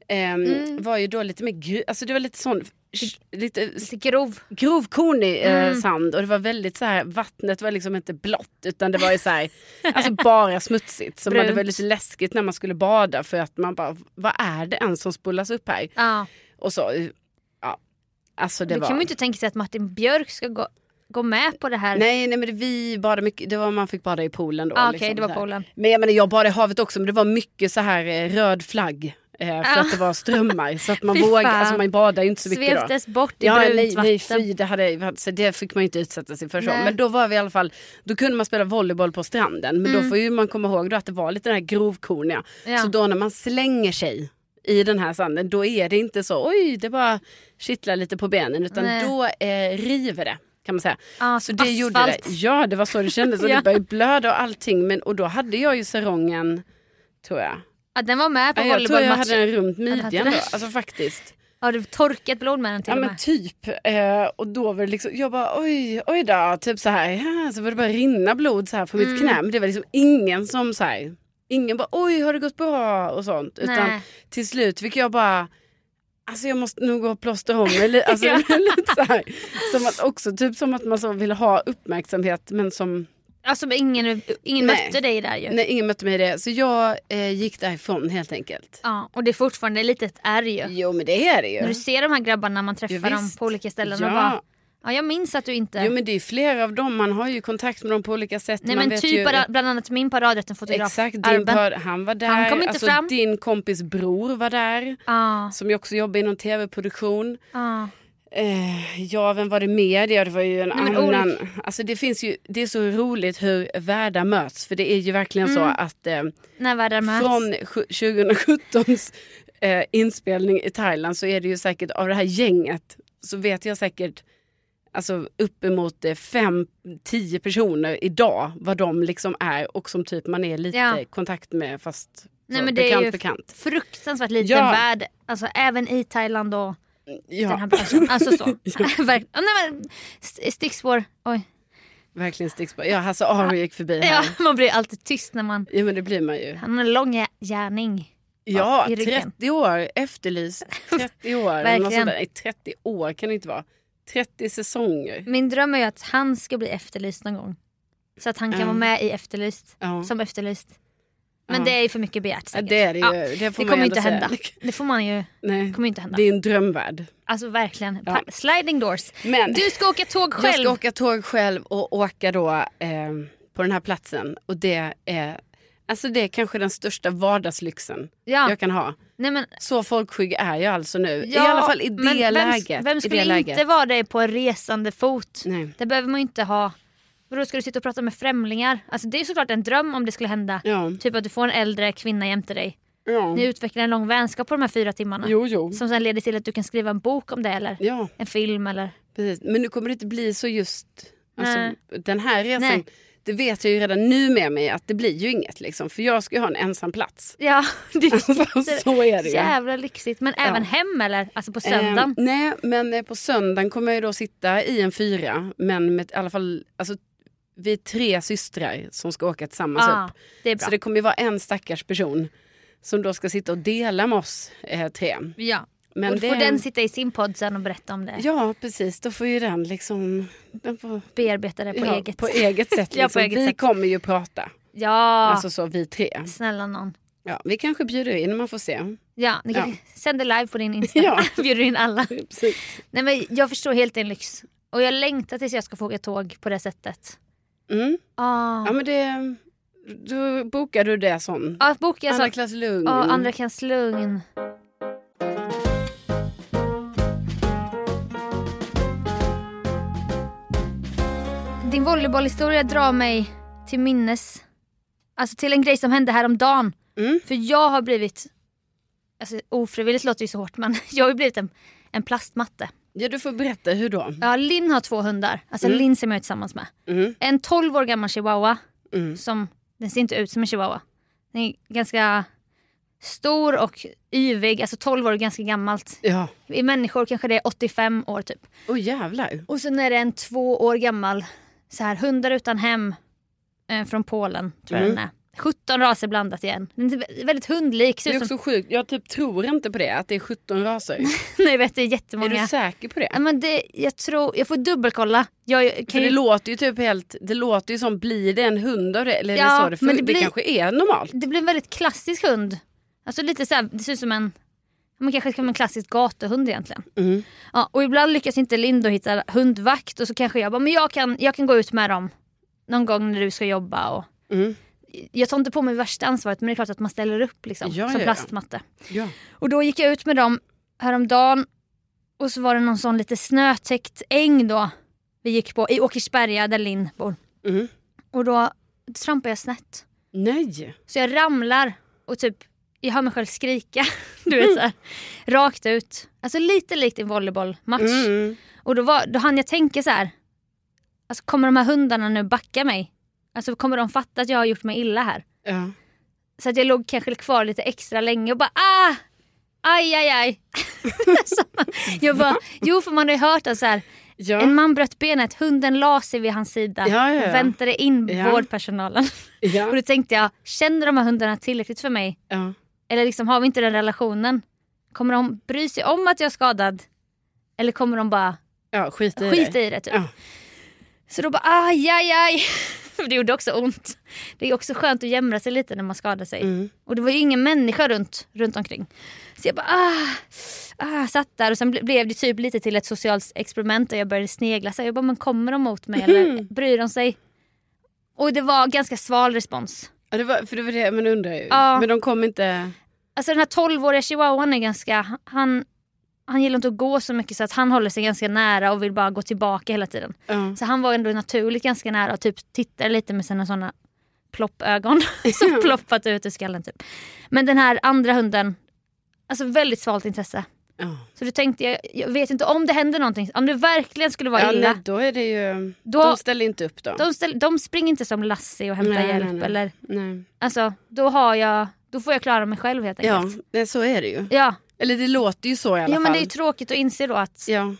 [SPEAKER 1] ehm,
[SPEAKER 2] Mm.
[SPEAKER 1] var ju då lite mer gru- alltså det var lite sån sh- lite s-
[SPEAKER 2] Lite grov.
[SPEAKER 1] grovkornig eh,
[SPEAKER 2] Mm.
[SPEAKER 1] sand och det var väldigt så här vattnet var liksom inte blått utan det var ju så här alltså bara smutsigt så man, det var
[SPEAKER 2] Brunt.
[SPEAKER 1] lite läskigt när man skulle bada för att man bara vad är det ens som spolas upp här
[SPEAKER 2] Ja.
[SPEAKER 1] och så ja alltså det
[SPEAKER 2] Då
[SPEAKER 1] var
[SPEAKER 2] kan man ju inte tänka sig att Martin Björk ska gå, gå med på det här.
[SPEAKER 1] Nej, nej men det, vi badade mycket, det var man fick bada i poolen då.
[SPEAKER 2] ah, Okej,
[SPEAKER 1] liksom,
[SPEAKER 2] det
[SPEAKER 1] så
[SPEAKER 2] var
[SPEAKER 1] här.
[SPEAKER 2] Polen.
[SPEAKER 1] Men jag menar jag bad i havet också men det var mycket så här eh, röd flagg. Eh, för
[SPEAKER 2] Ja.
[SPEAKER 1] att det var strömmar. Så att man
[SPEAKER 2] Fy
[SPEAKER 1] vågar,
[SPEAKER 2] fan.
[SPEAKER 1] alltså man badar ju inte så mycket då.
[SPEAKER 2] Sveptes bort i
[SPEAKER 1] Ja, nej,
[SPEAKER 2] brunt
[SPEAKER 1] nej
[SPEAKER 2] vatten.
[SPEAKER 1] fy, det, hade, så det fick man ju inte utsätta sig för. Så.
[SPEAKER 2] Nej.
[SPEAKER 1] Men då var vi i alla fall, då kunde man spela volleyboll på stranden. Men då
[SPEAKER 2] Mm.
[SPEAKER 1] får ju man komma ihåg då att det var lite den här grovkorniga.
[SPEAKER 2] Ja.
[SPEAKER 1] Så då när man slänger sig i den här sanden då är det inte så oj det bara kittlar lite på benen utan
[SPEAKER 2] Nej.
[SPEAKER 1] då eh, river det kan man säga.
[SPEAKER 2] Ja,
[SPEAKER 1] Så det gjorde det.
[SPEAKER 2] asfalt.
[SPEAKER 1] Ja, det var så det kändes. Och
[SPEAKER 2] Ja.
[SPEAKER 1] Det började blöda och allting. Men, och då hade jag ju sarongen, tror jag.
[SPEAKER 2] Ja, den var med på
[SPEAKER 1] Nej, jag tror jag hade
[SPEAKER 2] volleybollmatchen.
[SPEAKER 1] den runt
[SPEAKER 2] hade
[SPEAKER 1] midjan
[SPEAKER 2] den?
[SPEAKER 1] då. Alltså faktiskt.
[SPEAKER 2] Har du torkat blod med den till
[SPEAKER 1] Ja
[SPEAKER 2] och
[SPEAKER 1] men
[SPEAKER 2] med?
[SPEAKER 1] typ. Eh, och då var det liksom, jag bara oj, oj då. Typ så här. Ja, så var det bara rinna blod så här från mitt
[SPEAKER 2] Mm.
[SPEAKER 1] knä. Men det var liksom ingen som så här. Ingen bara oj har det gått bra och sånt. Utan
[SPEAKER 2] Nej.
[SPEAKER 1] till slut fick jag bara Alltså jag måste nog gå och plåstra om mig. li- Alltså, lite så här. Som att också typ som att man så vill ha uppmärksamhet men som
[SPEAKER 2] Alltså men ingen, ingen
[SPEAKER 1] Nej.
[SPEAKER 2] mötte dig där ju.
[SPEAKER 1] Nej, ingen mötte mig i det. Så jag eh, gick därifrån helt enkelt.
[SPEAKER 2] Ja, och det är fortfarande lite ett ärr ju.
[SPEAKER 1] Jo, men det är det
[SPEAKER 2] När
[SPEAKER 1] ju.
[SPEAKER 2] du ser de här grabbarna man
[SPEAKER 1] Ja,
[SPEAKER 2] träffar dem
[SPEAKER 1] visst.
[SPEAKER 2] på olika ställen och bara,
[SPEAKER 1] Ja.
[SPEAKER 2] ja jag minns att du inte...
[SPEAKER 1] Jo, men det är ju flera av dem. Man har ju kontakt med dem på olika sätt.
[SPEAKER 2] Nej
[SPEAKER 1] Man
[SPEAKER 2] men
[SPEAKER 1] vet
[SPEAKER 2] typ
[SPEAKER 1] ju...
[SPEAKER 2] bara, bland annat min paradrätten-fotograf.
[SPEAKER 1] Exakt, din
[SPEAKER 2] Arben.
[SPEAKER 1] par, han var där.
[SPEAKER 2] Han kom inte
[SPEAKER 1] alltså,
[SPEAKER 2] fram.
[SPEAKER 1] Din kompis bror var där,
[SPEAKER 2] Ja,
[SPEAKER 1] som ju också jobbar inom tv-produktion.
[SPEAKER 2] ja.
[SPEAKER 1] Eh, ja, vem var det mer? Ja, det var ju en
[SPEAKER 2] Nej, men
[SPEAKER 1] annan. Alltså, det, finns ju, det är så roligt hur världar möts. För det är ju verkligen så
[SPEAKER 2] Mm.
[SPEAKER 1] att... Eh,
[SPEAKER 2] När världar möts.
[SPEAKER 1] Från sju- 2017s eh, inspelning i Thailand så är det ju säkert av det här gänget så vet jag säkert alltså uppemot 5-10 personer idag vad de liksom är och som typ man är lite
[SPEAKER 2] Ja.
[SPEAKER 1] i kontakt med fast
[SPEAKER 2] Nej,
[SPEAKER 1] så,
[SPEAKER 2] men det är
[SPEAKER 1] bekant
[SPEAKER 2] ju-
[SPEAKER 1] bekant.
[SPEAKER 2] Fruktansvärt liten
[SPEAKER 1] Ja.
[SPEAKER 2] värld. Alltså även i Thailand och den
[SPEAKER 1] Ja,
[SPEAKER 2] här branschen. Alltså så. Verk- ja, nej, men, st- stickspår. Oj.
[SPEAKER 1] verkligen stickspår. Ja, Hasse Aro gick förbi
[SPEAKER 2] Ja,
[SPEAKER 1] här.
[SPEAKER 2] man blir alltid tyst när man...
[SPEAKER 1] Ja men det blir man ju.
[SPEAKER 2] Han har en lång gär- gärning.
[SPEAKER 1] Ja,
[SPEAKER 2] i ryggen.
[SPEAKER 1] 30 år efterlyst. 30 år. eller något
[SPEAKER 2] Verkligen.
[SPEAKER 1] sånt där. Nej, 30 år kan det inte vara. 30 säsonger.
[SPEAKER 2] Min dröm är ju att han ska bli efterlyst någon gång. Så att han kan
[SPEAKER 1] Ja.
[SPEAKER 2] vara med i Efterlyst.
[SPEAKER 1] Ja.
[SPEAKER 2] Som Efterlyst. Men
[SPEAKER 1] Ja.
[SPEAKER 2] det är ju för mycket begärt
[SPEAKER 1] Ja,
[SPEAKER 2] säkert.
[SPEAKER 1] det är det ju.
[SPEAKER 2] Ja,
[SPEAKER 1] det får
[SPEAKER 2] det
[SPEAKER 1] man ju
[SPEAKER 2] kommer ju inte
[SPEAKER 1] ändå
[SPEAKER 2] hända.
[SPEAKER 1] Säga.
[SPEAKER 2] Det får man ju.
[SPEAKER 1] Nej,
[SPEAKER 2] Det kommer ju inte hända.
[SPEAKER 1] det är en drömvärld.
[SPEAKER 2] Alltså verkligen.
[SPEAKER 1] Ja.
[SPEAKER 2] Pa- Sliding doors.
[SPEAKER 1] Men
[SPEAKER 2] Du ska åka tåg
[SPEAKER 1] jag
[SPEAKER 2] själv.
[SPEAKER 1] ska åka tåg själv och åka då eh, på den här platsen. Och det är, alltså det är kanske den största vardagslyxen
[SPEAKER 2] Ja.
[SPEAKER 1] jag kan ha.
[SPEAKER 2] Nej, men,
[SPEAKER 1] Så folkskygg är jag alltså nu.
[SPEAKER 2] ja,
[SPEAKER 1] I alla fall i det
[SPEAKER 2] men vem,
[SPEAKER 1] läget.
[SPEAKER 2] Vem
[SPEAKER 1] i
[SPEAKER 2] skulle
[SPEAKER 1] det
[SPEAKER 2] inte
[SPEAKER 1] läget.
[SPEAKER 2] vara det på en resande fot?
[SPEAKER 1] Nej.
[SPEAKER 2] Det behöver man ju inte ha. För då ska du sitta och prata med främlingar. Alltså det är ju såklart en dröm om det skulle hända.
[SPEAKER 1] Ja. Mm.
[SPEAKER 2] Typ att du får en äldre kvinna jämte dig.
[SPEAKER 1] ja.
[SPEAKER 2] Ni utvecklar en lång vänskap på de här fyra timmarna.
[SPEAKER 1] Jo, jo.
[SPEAKER 2] Som sen leder till att du kan skriva en bok om det eller
[SPEAKER 1] Ja,
[SPEAKER 2] en film eller...
[SPEAKER 1] precis. Men nu kommer det inte bli så just... Alltså,
[SPEAKER 2] Nej.
[SPEAKER 1] den här resan,
[SPEAKER 2] Nej.
[SPEAKER 1] det vet jag ju redan nu med mig att det blir ju inget. Liksom, för jag ska ju ha en ensam plats.
[SPEAKER 2] Ja, det
[SPEAKER 1] Alltså,
[SPEAKER 2] är
[SPEAKER 1] så är det ju.
[SPEAKER 2] jävla lyxigt. Men även hem eller? Alltså på
[SPEAKER 1] Eh,
[SPEAKER 2] söndagen?
[SPEAKER 1] nej, men eh, på söndagen kommer jag ju då sitta i en fyra. Men med i alla fall, alltså, vi är tre systrar som ska åka tillsammans upp.
[SPEAKER 2] ah, det är bra.
[SPEAKER 1] Så det kommer ju vara en stackars person som då ska sitta och dela med oss eh, tre.
[SPEAKER 2] Ja.
[SPEAKER 1] Men
[SPEAKER 2] och då
[SPEAKER 1] det-
[SPEAKER 2] får den sitta i sin podd sen och berätta om det.
[SPEAKER 1] Ja, precis. Då får ju den liksom... Den får,
[SPEAKER 2] Bearbeta det på
[SPEAKER 1] ja,
[SPEAKER 2] eget.
[SPEAKER 1] på eget sätt.
[SPEAKER 2] Ja, på
[SPEAKER 1] Liksom.
[SPEAKER 2] eget
[SPEAKER 1] vi
[SPEAKER 2] sätt.
[SPEAKER 1] kommer ju prata.
[SPEAKER 2] Ja,
[SPEAKER 1] Alltså så, vi tre.
[SPEAKER 2] snälla någon.
[SPEAKER 1] Ja, vi kanske bjuder in, man får se.
[SPEAKER 2] Ja, ni kan
[SPEAKER 1] Ja.
[SPEAKER 2] sända live på din Insta.
[SPEAKER 1] Ja.
[SPEAKER 2] Bjuder in alla.
[SPEAKER 1] Precis.
[SPEAKER 2] Nej men jag förstår helt din lyx. Och jag längtar tills jag ska få åka tåg på det sättet.
[SPEAKER 1] Mm.
[SPEAKER 2] Ah.
[SPEAKER 1] Ja, men det... Då bokar du det sån.
[SPEAKER 2] Ja, bokar jag
[SPEAKER 1] Andra
[SPEAKER 2] sånt.
[SPEAKER 1] klass lugn.
[SPEAKER 2] Ja, andra klass lugn. Din volleybollhistoria drar mig till minnes. Alltså till en grej som hände häromdagen.
[SPEAKER 1] Mm.
[SPEAKER 2] För jag har blivit, alltså ofrivilligt låter ju så hårt men jag har ju blivit en, en plastmatte.
[SPEAKER 1] Ja, du får berätta. Hur då?
[SPEAKER 2] Ja, Linn har två hundar, alltså
[SPEAKER 1] Mm.
[SPEAKER 2] Linn som jag är tillsammans med.
[SPEAKER 1] Mm.
[SPEAKER 2] En 12 år gammal chihuahua
[SPEAKER 1] Mm.
[SPEAKER 2] som, den ser inte ut som en chihuahua. Den är ganska stor och yvig, alltså 12 år är ganska gammalt.
[SPEAKER 1] Ja.
[SPEAKER 2] I människor kanske det är 85 år typ.
[SPEAKER 1] Åh jävlar.
[SPEAKER 2] Och sen är det en två år gammal, så här hundar utan hem eh, från Polen tror jag
[SPEAKER 1] Mm.
[SPEAKER 2] den är. 17 raser blandat igen. Den är vä- väldigt hundlik. Ser
[SPEAKER 1] Det är
[SPEAKER 2] ut som,
[SPEAKER 1] också sjukt. Jag typ tror inte på det, att det är 17 raser.
[SPEAKER 2] nej, vet, det är
[SPEAKER 1] Är
[SPEAKER 2] jättemånga.
[SPEAKER 1] du säker på
[SPEAKER 2] Ja,
[SPEAKER 1] det?
[SPEAKER 2] men det, jag, tror, jag får dubbelkolla. Jag, jag,
[SPEAKER 1] För
[SPEAKER 2] kan
[SPEAKER 1] det
[SPEAKER 2] ju,
[SPEAKER 1] låter ju typ helt, det låter ju som blir det en hund av det? Eller är
[SPEAKER 2] Ja,
[SPEAKER 1] det så det, fun-
[SPEAKER 2] men det
[SPEAKER 1] det,
[SPEAKER 2] blir-
[SPEAKER 1] kanske är normalt?
[SPEAKER 2] det blir en väldigt klassisk hund. Alltså lite så här, det ser ut som en, man kanske som en klassisk gatuhund egentligen.
[SPEAKER 1] Mm.
[SPEAKER 2] Ja, och ibland lyckas inte Lindo hitta hundvakt och så kanske jag bara, men jag kan, jag kan gå ut med dem någon gång när du ska jobba. Och,
[SPEAKER 1] Mm.
[SPEAKER 2] jag tar inte på mig värsta ansvaret men det är klart att man ställer upp liksom,
[SPEAKER 1] Ja,
[SPEAKER 2] som
[SPEAKER 1] ja, ja.
[SPEAKER 2] plastmatte.
[SPEAKER 1] Ja.
[SPEAKER 2] Och då gick jag ut med dem häromdagen och så var det någon sån lite snötäckt äng då vi gick på i Åkersberga där Linn bor.
[SPEAKER 1] Mm.
[SPEAKER 2] Och då trampar jag snett.
[SPEAKER 1] Nej.
[SPEAKER 2] Så jag ramlar och typ, jag hör mig själv skrika. Du vet såhär. Rakt ut. Alltså lite likt en volleybollmatch.
[SPEAKER 1] Mm.
[SPEAKER 2] Och då, var, då hann jag tänka så här. Alltså kommer de här hundarna nu backa mig? Alltså kommer de fatta att jag har gjort mig illa här?
[SPEAKER 1] Ja.
[SPEAKER 2] Så att jag låg kanske kvar lite extra länge och bara ah! Aj aj aj. så jag bara, jo för man har ju hört att så här,
[SPEAKER 1] Ja.
[SPEAKER 2] en man bröt benet, hunden la sig vid hans sida
[SPEAKER 1] Ja, ja, ja.
[SPEAKER 2] och väntade in
[SPEAKER 1] Ja.
[SPEAKER 2] vårdpersonalen. Och
[SPEAKER 1] Ja.
[SPEAKER 2] då tänkte jag, känner de här hundarna tillräckligt för mig?
[SPEAKER 1] Ja.
[SPEAKER 2] Eller liksom, har vi inte den relationen? Kommer de bry sig om att jag är skadad? Eller kommer de bara
[SPEAKER 1] ja, skit i
[SPEAKER 2] skita
[SPEAKER 1] det.
[SPEAKER 2] i det? Typ?
[SPEAKER 1] Ja.
[SPEAKER 2] Så då bara aj, aj, aj. För det gjorde också ont. Det är också skönt att jämra sig lite när man skadar sig.
[SPEAKER 1] Mm.
[SPEAKER 2] Och det var ju ingen människa runt, runt omkring. Så jag bara ah, ah, satt där och sen ble, blev det typ lite till ett socialt experiment där jag började snegla. Så jag bara, men kommer de mot mig
[SPEAKER 1] Mm.
[SPEAKER 2] eller bryr de sig? Och det var ganska sval respons.
[SPEAKER 1] Ja, det var, för det var det man undrar ju.
[SPEAKER 2] Ja.
[SPEAKER 1] Men de kom inte...
[SPEAKER 2] Alltså den här 12-åriga chihuahuan är ganska, han, han gillar inte att gå så mycket så att han håller sig ganska nära och vill bara gå tillbaka hela tiden.
[SPEAKER 1] Ja.
[SPEAKER 2] Så han var ändå naturligt ganska nära och typ tittade lite med sina sådana ploppögon som ploppat ut ur skallen. Typ. Men den här andra hunden, alltså väldigt svalt intresse.
[SPEAKER 1] Ja.
[SPEAKER 2] Så då tänkte jag, jag vet inte om det händer någonting, om det verkligen skulle vara
[SPEAKER 1] Ja,
[SPEAKER 2] illa.
[SPEAKER 1] nej, då är det ju...
[SPEAKER 2] Då-
[SPEAKER 1] de ställer inte upp då.
[SPEAKER 2] De, ställ, de springer inte som Lassie och hämtar
[SPEAKER 1] Nej, nej,
[SPEAKER 2] hjälp.
[SPEAKER 1] nej.
[SPEAKER 2] Eller,
[SPEAKER 1] Nej.
[SPEAKER 2] alltså, då, har jag, då får jag klara mig själv helt
[SPEAKER 1] Ja,
[SPEAKER 2] enkelt.
[SPEAKER 1] nej, så är det ju.
[SPEAKER 2] Ja,
[SPEAKER 1] Eller det låter ju så i alla
[SPEAKER 2] ja
[SPEAKER 1] fall.
[SPEAKER 2] men det är ju tråkigt att inse då att
[SPEAKER 1] Ja.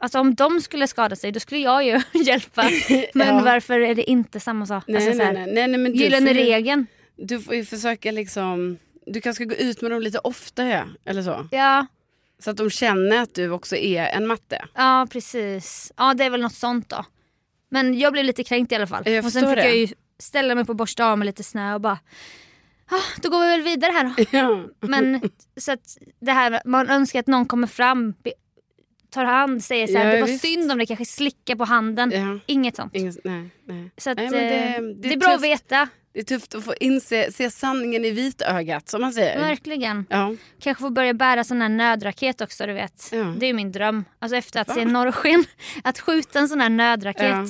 [SPEAKER 2] alltså, om de skulle skada sig då skulle jag ju hjälpa. Men
[SPEAKER 1] Ja.
[SPEAKER 2] varför är det inte samma sak?
[SPEAKER 1] Nej,
[SPEAKER 2] alltså, så här,
[SPEAKER 1] nej, nej, nej, nej, men du
[SPEAKER 2] Gyllene
[SPEAKER 1] får ju-
[SPEAKER 2] regeln.
[SPEAKER 1] Du får ju försöka liksom... Du kanske ska gå ut med dem lite oftare eller så.
[SPEAKER 2] Ja,
[SPEAKER 1] Så att de känner att du också är en matte.
[SPEAKER 2] ja precis. Ja det är väl något sånt då. Men jag blev lite kränkt i alla fall.
[SPEAKER 1] Jag
[SPEAKER 2] och sen
[SPEAKER 1] förstår
[SPEAKER 2] fick
[SPEAKER 1] det.
[SPEAKER 2] jag ju ställa mig på och borsta av med lite snö och bara ah, då går vi väl vidare här då.
[SPEAKER 1] Ja.
[SPEAKER 2] Men så att det här, man önskar att någon kommer fram, be- tar hand, säger så här,
[SPEAKER 1] Ja,
[SPEAKER 2] det var
[SPEAKER 1] visst.
[SPEAKER 2] synd om det kanske slickar på handen.
[SPEAKER 1] ja.
[SPEAKER 2] Inget sånt.
[SPEAKER 1] Ingen, nej, nej.
[SPEAKER 2] Så att,
[SPEAKER 1] Nej,
[SPEAKER 2] eh,
[SPEAKER 1] men
[SPEAKER 2] det,
[SPEAKER 1] det- det är
[SPEAKER 2] är bra att
[SPEAKER 1] tufft.
[SPEAKER 2] veta,
[SPEAKER 1] Det är tufft att få inse, se sanningen i vitögat som man säger.
[SPEAKER 2] verkligen.
[SPEAKER 1] Ja.
[SPEAKER 2] Kanske få börja bära sån här nödraket också du vet.
[SPEAKER 1] Ja.
[SPEAKER 2] Det är min dröm. Alltså efter att
[SPEAKER 1] Va?
[SPEAKER 2] se norrsken, att skjuta en sån här nödraket.
[SPEAKER 1] Ja.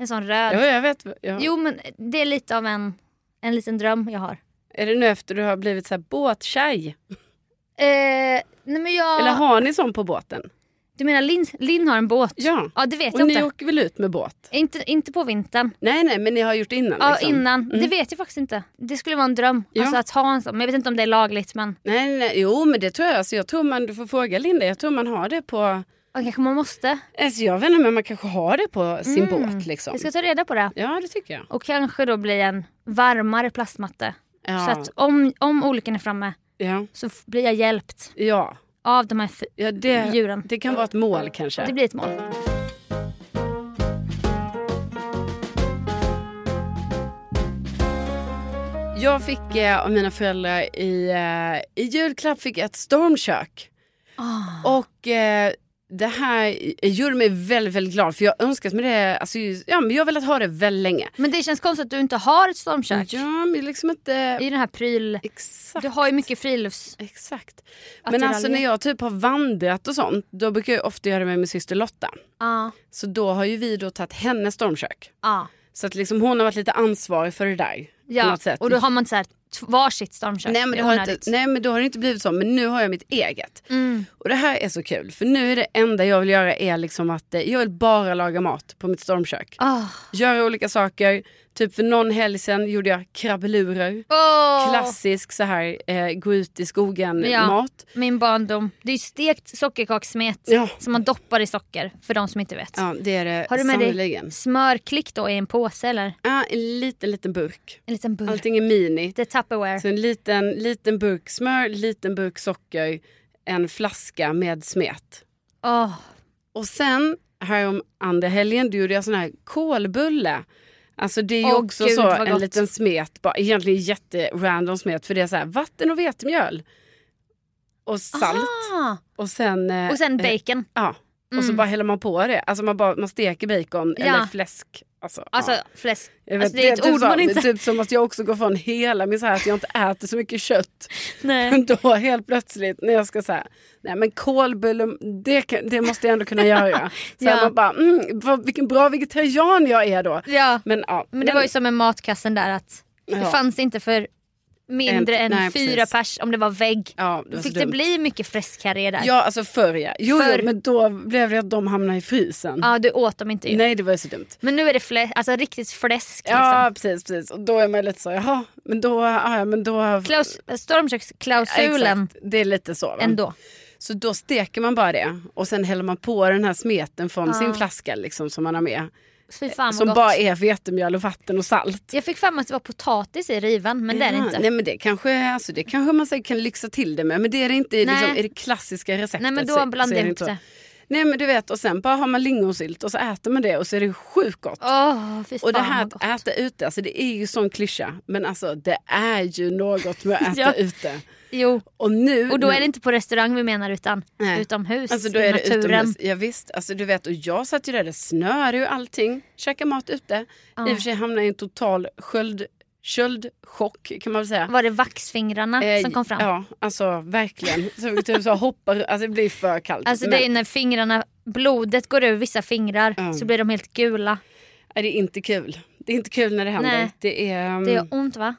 [SPEAKER 2] En sån röd.
[SPEAKER 1] ja, jag vet. Ja.
[SPEAKER 2] Jo men det är lite av en, en liten dröm jag har.
[SPEAKER 1] Är det nu efter du har blivit så här båttjej?
[SPEAKER 2] Eh, nej men jag,
[SPEAKER 1] Eller har ni sån på båten?
[SPEAKER 2] Du menar Linn Lin har en båt?
[SPEAKER 1] Ja.
[SPEAKER 2] Ja det vet
[SPEAKER 1] Och
[SPEAKER 2] jag
[SPEAKER 1] ni
[SPEAKER 2] inte.
[SPEAKER 1] åker väl ut med båt?
[SPEAKER 2] Inte, inte på vintern.
[SPEAKER 1] Nej, nej, men ni har gjort innan.
[SPEAKER 2] Ja,
[SPEAKER 1] liksom.
[SPEAKER 2] innan.
[SPEAKER 1] Mm.
[SPEAKER 2] Det vet jag faktiskt inte. Det skulle vara en dröm.
[SPEAKER 1] Ja.
[SPEAKER 2] Alltså att ha en sån. Men jag vet inte om det är lagligt men
[SPEAKER 1] Nej, nej, nej, jo, men det tror jag. Alltså, jag tror man, du får fråga Linda, jag tror man har det på...
[SPEAKER 2] ja, kanske man måste.
[SPEAKER 1] Alltså, jag vet inte, men man kanske har det på sin
[SPEAKER 2] Mm.
[SPEAKER 1] båt. Liksom.
[SPEAKER 2] Jag ska ta reda på det.
[SPEAKER 1] Ja, det tycker jag.
[SPEAKER 2] Och kanske då bli en varmare plastmatte.
[SPEAKER 1] Ja,
[SPEAKER 2] Så att om, om olyckan är framme
[SPEAKER 1] ja,
[SPEAKER 2] så f- blir jag hjälpt
[SPEAKER 1] ja.
[SPEAKER 2] av de här f-
[SPEAKER 1] ja det,
[SPEAKER 2] djuren.
[SPEAKER 1] det kan vara ett mål kanske.
[SPEAKER 2] Det blir ett mål.
[SPEAKER 1] Jag fick eh, av mina föräldrar i, eh, i julklapp fick jag ett stormkök.
[SPEAKER 2] Ah.
[SPEAKER 1] Och eh, det här eh, gjorde mig väldigt, väldigt glad för jag har önskat mig det, alltså, ja, men jag har velat ha det väldigt länge.
[SPEAKER 2] Men det känns konstigt att du inte har ett stormkök
[SPEAKER 1] Ja, men jag liksom inte...
[SPEAKER 2] i den här pryl...
[SPEAKER 1] Exakt.
[SPEAKER 2] Du har ju mycket frilufts...
[SPEAKER 1] Exakt.
[SPEAKER 2] Att
[SPEAKER 1] Men
[SPEAKER 2] du
[SPEAKER 1] alltså när
[SPEAKER 2] raljerar.
[SPEAKER 1] jag typ har vandrat och sånt, då brukar jag ofta göra det med min syster Lotta.
[SPEAKER 2] Ja.
[SPEAKER 1] Så då har ju vi då tagit hennes stormkök.
[SPEAKER 2] ja.
[SPEAKER 1] Så att liksom hon har varit lite ansvarig för det där. på
[SPEAKER 2] ja.
[SPEAKER 1] något sätt.
[SPEAKER 2] Och då har man så här, t- varsitt stormkök.
[SPEAKER 1] nej, men
[SPEAKER 2] Det
[SPEAKER 1] det
[SPEAKER 2] är
[SPEAKER 1] har
[SPEAKER 2] onödigt.
[SPEAKER 1] inte, nej men då har det inte blivit så, men nu har jag mitt eget.
[SPEAKER 2] Mm.
[SPEAKER 1] Och det här är så kul, för nu är det enda jag vill göra är liksom att eh, jag vill bara laga mat på mitt stormkök.
[SPEAKER 2] Ah.
[SPEAKER 1] Göra olika saker, typ för någon helg sen gjorde jag krabbelurer.
[SPEAKER 2] Åh,
[SPEAKER 1] Klassisk så här eh, gå ut i skogen
[SPEAKER 2] Ja.
[SPEAKER 1] mat.
[SPEAKER 2] Min barndom. Det är ju stekt sockerkakssmet
[SPEAKER 1] Ja.
[SPEAKER 2] som man doppar i socker för de som inte vet.
[SPEAKER 1] ja, det är det
[SPEAKER 2] Har du med dig-
[SPEAKER 1] sannerligen.
[SPEAKER 2] Smörklick då i en påse eller
[SPEAKER 1] Ja, en liten, liten burk.
[SPEAKER 2] en liten burk.
[SPEAKER 1] Allting är mini.
[SPEAKER 2] Det är Tupperware.
[SPEAKER 1] Så en liten, liten burk smör, liten burk socker, en flaska med smet.
[SPEAKER 2] Åh,
[SPEAKER 1] Och sen här om andra helgen, då gjorde jag sån här kolbulle. Alltså det är ju
[SPEAKER 2] Åh,
[SPEAKER 1] också
[SPEAKER 2] gud,
[SPEAKER 1] så
[SPEAKER 2] vad
[SPEAKER 1] en
[SPEAKER 2] gott.
[SPEAKER 1] liten smet, bara, egentligen jätterandom smet för det är så här vatten och vetemjöl. Och salt
[SPEAKER 2] Ah.
[SPEAKER 1] och sen... eh,
[SPEAKER 2] Och sen
[SPEAKER 1] eh,
[SPEAKER 2] bacon.
[SPEAKER 1] Ja, och så
[SPEAKER 2] Mm.
[SPEAKER 1] bara häller man på det. Alltså man, bara, man steker bacon
[SPEAKER 2] Ja.
[SPEAKER 1] eller fläsk. Alltså, ja.
[SPEAKER 2] Alltså fläsk.
[SPEAKER 1] Jag
[SPEAKER 2] Alltså,
[SPEAKER 1] vet,
[SPEAKER 2] det är ett
[SPEAKER 1] typ
[SPEAKER 2] ord
[SPEAKER 1] så-
[SPEAKER 2] man inte-
[SPEAKER 1] Typ som att jag också går från hela min så här att jag inte äter så mycket kött.
[SPEAKER 2] Nej.
[SPEAKER 1] Men då helt plötsligt när jag ska säga, nej men kolbulle, det, kan- det måste jag ändå kunna göra. Så
[SPEAKER 2] Ja.
[SPEAKER 1] man bara, mm, vad, vilken bra vegetarian jag är då.
[SPEAKER 2] Ja.
[SPEAKER 1] Men ja.
[SPEAKER 2] Men det var ju som med matkassen där att det
[SPEAKER 1] ja.
[SPEAKER 2] fanns inte för mindre
[SPEAKER 1] En-
[SPEAKER 2] än
[SPEAKER 1] nej,
[SPEAKER 2] fyra
[SPEAKER 1] precis.
[SPEAKER 2] pers om det var vägg.
[SPEAKER 1] Ja, det
[SPEAKER 2] Då
[SPEAKER 1] var så
[SPEAKER 2] fick det
[SPEAKER 1] dumt.
[SPEAKER 2] bli mycket fläskkarré där. Ja.
[SPEAKER 1] Ja, alltså förr ja. Jo,
[SPEAKER 2] Förr.
[SPEAKER 1] jo, men då blev det att de hamnade i frysen.
[SPEAKER 2] du åt dem inte ju.
[SPEAKER 1] Nej, det var ju så dumt.
[SPEAKER 2] Men nu är det flä- alltså, riktigt fläsk.
[SPEAKER 1] Ja,
[SPEAKER 2] Liksom.
[SPEAKER 1] precis, precis. Och då är man lite så, jaha, men då... Ja, ja, men då
[SPEAKER 2] Klaus- Stormköksklausulen
[SPEAKER 1] Exakt, det är lite så. Va?
[SPEAKER 2] ändå.
[SPEAKER 1] Så då steker man bara det och sen häller man på den här smeten från
[SPEAKER 2] Ja.
[SPEAKER 1] sin flaska liksom, som man har med.
[SPEAKER 2] Fy fan vad
[SPEAKER 1] som
[SPEAKER 2] gott.
[SPEAKER 1] bara är vetemjöl och vatten och salt.
[SPEAKER 2] Jag fick för mig att det var potatis i rivan men det är det
[SPEAKER 1] Ja,
[SPEAKER 2] inte.
[SPEAKER 1] Nej men det kanske, alltså, det kanske man säkert kan lyxa till det med. Men det är det inte i
[SPEAKER 2] Nej.
[SPEAKER 1] liksom, i det klassiska receptet.
[SPEAKER 2] Nej men
[SPEAKER 1] så-
[SPEAKER 2] då
[SPEAKER 1] så
[SPEAKER 2] blandade
[SPEAKER 1] är
[SPEAKER 2] jag ihop
[SPEAKER 1] inte så.
[SPEAKER 2] det.
[SPEAKER 1] Nej men du vet och sen bara har man lingonsylt och så äter man det och så är det sjukt gott.
[SPEAKER 2] Åh, fy fan
[SPEAKER 1] Och det här
[SPEAKER 2] vad
[SPEAKER 1] att
[SPEAKER 2] gott.
[SPEAKER 1] äta ute, alltså det är ju sån klyscha. Men alltså det är ju något med att äta
[SPEAKER 2] Ja.
[SPEAKER 1] ute.
[SPEAKER 2] Jo,
[SPEAKER 1] Och nu...
[SPEAKER 2] och då är det inte på restaurang vi menar utan
[SPEAKER 1] Nej.
[SPEAKER 2] utomhus
[SPEAKER 1] Alltså då
[SPEAKER 2] i
[SPEAKER 1] är det
[SPEAKER 2] naturen.
[SPEAKER 1] utomhus. Ja, visst. Alltså du vet, och jag satt ju där, det snöade ju allting. Käka mat ute.
[SPEAKER 2] Ja.
[SPEAKER 1] I och för sig hamnade jag i en total sköld, köldchock kan man väl säga.
[SPEAKER 2] Var det vaxfingrarna
[SPEAKER 1] Eh,
[SPEAKER 2] som kom fram?
[SPEAKER 1] Ja, alltså verkligen. Så vi typ så hoppar, alltså det blir för kallt.
[SPEAKER 2] Alltså det är när fingrarna, blodet går ur vissa fingrar
[SPEAKER 1] Ja.
[SPEAKER 2] så blir de helt gula.
[SPEAKER 1] Men, det är inte kul. Det är inte kul när det händer.
[SPEAKER 2] Nej.
[SPEAKER 1] Det, är, um,
[SPEAKER 2] Det gör ont va?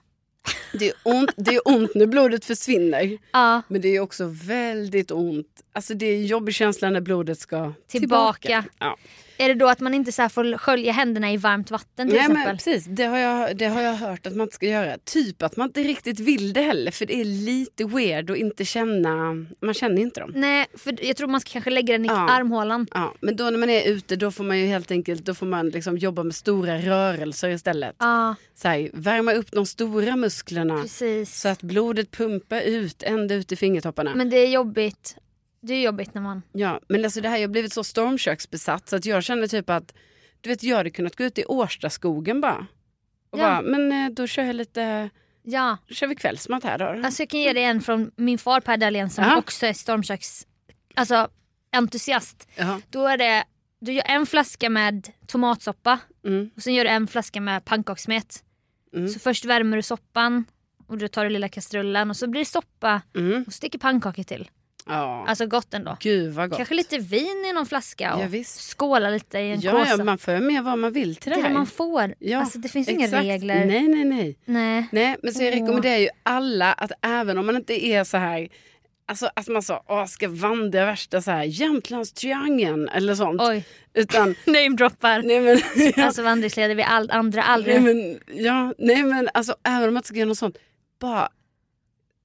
[SPEAKER 1] det, är ont, det är ont när blodet försvinner.
[SPEAKER 2] Ja,
[SPEAKER 1] Men det är också väldigt ont. Alltså det är en jobbig känsla när blodet ska
[SPEAKER 2] Tillbaka.
[SPEAKER 1] tillbaka. Ja.
[SPEAKER 2] är det då att man inte så här får skölja händerna i varmt vatten till
[SPEAKER 1] Nej, men
[SPEAKER 2] exempel?
[SPEAKER 1] precis. Det har, jag, det har jag hört att man inte ska göra. Typ att man inte riktigt vill det heller för det är lite weird att inte känna, man känner inte dem.
[SPEAKER 2] Nej, för jag tror man ska kanske lägga den i
[SPEAKER 1] Ja.
[SPEAKER 2] armhålan.
[SPEAKER 1] Ja, men då när man är ute då får man ju helt enkelt då får man liksom jobba med stora rörelser istället.
[SPEAKER 2] Ja,
[SPEAKER 1] Så här, värma upp de stora musklerna
[SPEAKER 2] precis.
[SPEAKER 1] så att blodet pumpar ut ända ut i fingertopparna.
[SPEAKER 2] Men det är jobbigt. Det är jobbigt när man...
[SPEAKER 1] Ja, men alltså det här, jag har blivit så stormköksbesatt så att jag känner typ att du vet, jag hade kunnat gå ut i Årstaskogen bara. Och
[SPEAKER 2] Ja.
[SPEAKER 1] bara, men eh, då kör jag lite,
[SPEAKER 2] Ja,
[SPEAKER 1] då kör vi kvällsmat här då.
[SPEAKER 2] Alltså jag kan ge dig en från min far Per Dahlén som
[SPEAKER 1] Ja.
[SPEAKER 2] också är stormköks... Alltså entusiast.
[SPEAKER 1] Ja.
[SPEAKER 2] Då är det, du gör en flaska med tomatsoppa
[SPEAKER 1] Mm.
[SPEAKER 2] och sen gör du en flaska med pannkakssmet.
[SPEAKER 1] Mm.
[SPEAKER 2] Så först värmer du soppan och då tar du lilla kastrullen och så blir det soppa
[SPEAKER 1] Mm.
[SPEAKER 2] och steker pannkakor till.
[SPEAKER 1] Ja.
[SPEAKER 2] Alltså gott ändå.
[SPEAKER 1] Gud vad gott.
[SPEAKER 2] Kanske lite vin i någon flaska och
[SPEAKER 1] Ja, visst.
[SPEAKER 2] skåla lite i en
[SPEAKER 1] ja,
[SPEAKER 2] kåsa.
[SPEAKER 1] ja, man får med vad man vill till
[SPEAKER 2] det
[SPEAKER 1] det,
[SPEAKER 2] är det
[SPEAKER 1] här.
[SPEAKER 2] man får.
[SPEAKER 1] Ja,
[SPEAKER 2] alltså det finns inga
[SPEAKER 1] Exakt.
[SPEAKER 2] regler. Mm.
[SPEAKER 1] Nej, nej, nej.
[SPEAKER 2] Nej.
[SPEAKER 1] nej men så jag
[SPEAKER 2] Åh.
[SPEAKER 1] rekommenderar ju alla att även om man inte är så här Alltså att man sa, åh, ska vandra värsta så här Jämtlandstriangeln eller sånt.
[SPEAKER 2] Oj,
[SPEAKER 1] Utan,
[SPEAKER 2] namedroppar.
[SPEAKER 1] nej men, ja,
[SPEAKER 2] Alltså vandringsleder vi all, andra aldrig.
[SPEAKER 1] nej men, ja, nej men alltså även om man inte ska göra något sånt, bara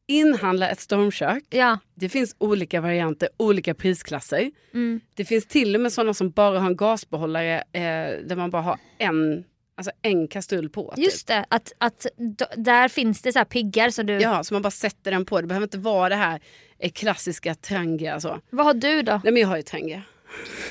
[SPEAKER 1] inhandla ett stormkök.
[SPEAKER 2] Ja.
[SPEAKER 1] Det finns olika varianter, olika prisklasser.
[SPEAKER 2] Mm.
[SPEAKER 1] Det finns till och med sådana som bara har en gasbehållare eh, där man bara har en, alltså en kastrull på. typ.
[SPEAKER 2] Just det, att, att d- där finns det så här piggar som du...
[SPEAKER 1] Ja, så man bara sätter den på. Det behöver inte vara det här eh, klassiska Trangia. Alltså.
[SPEAKER 2] Vad har du då?
[SPEAKER 1] Nej men jag har ju Trangia.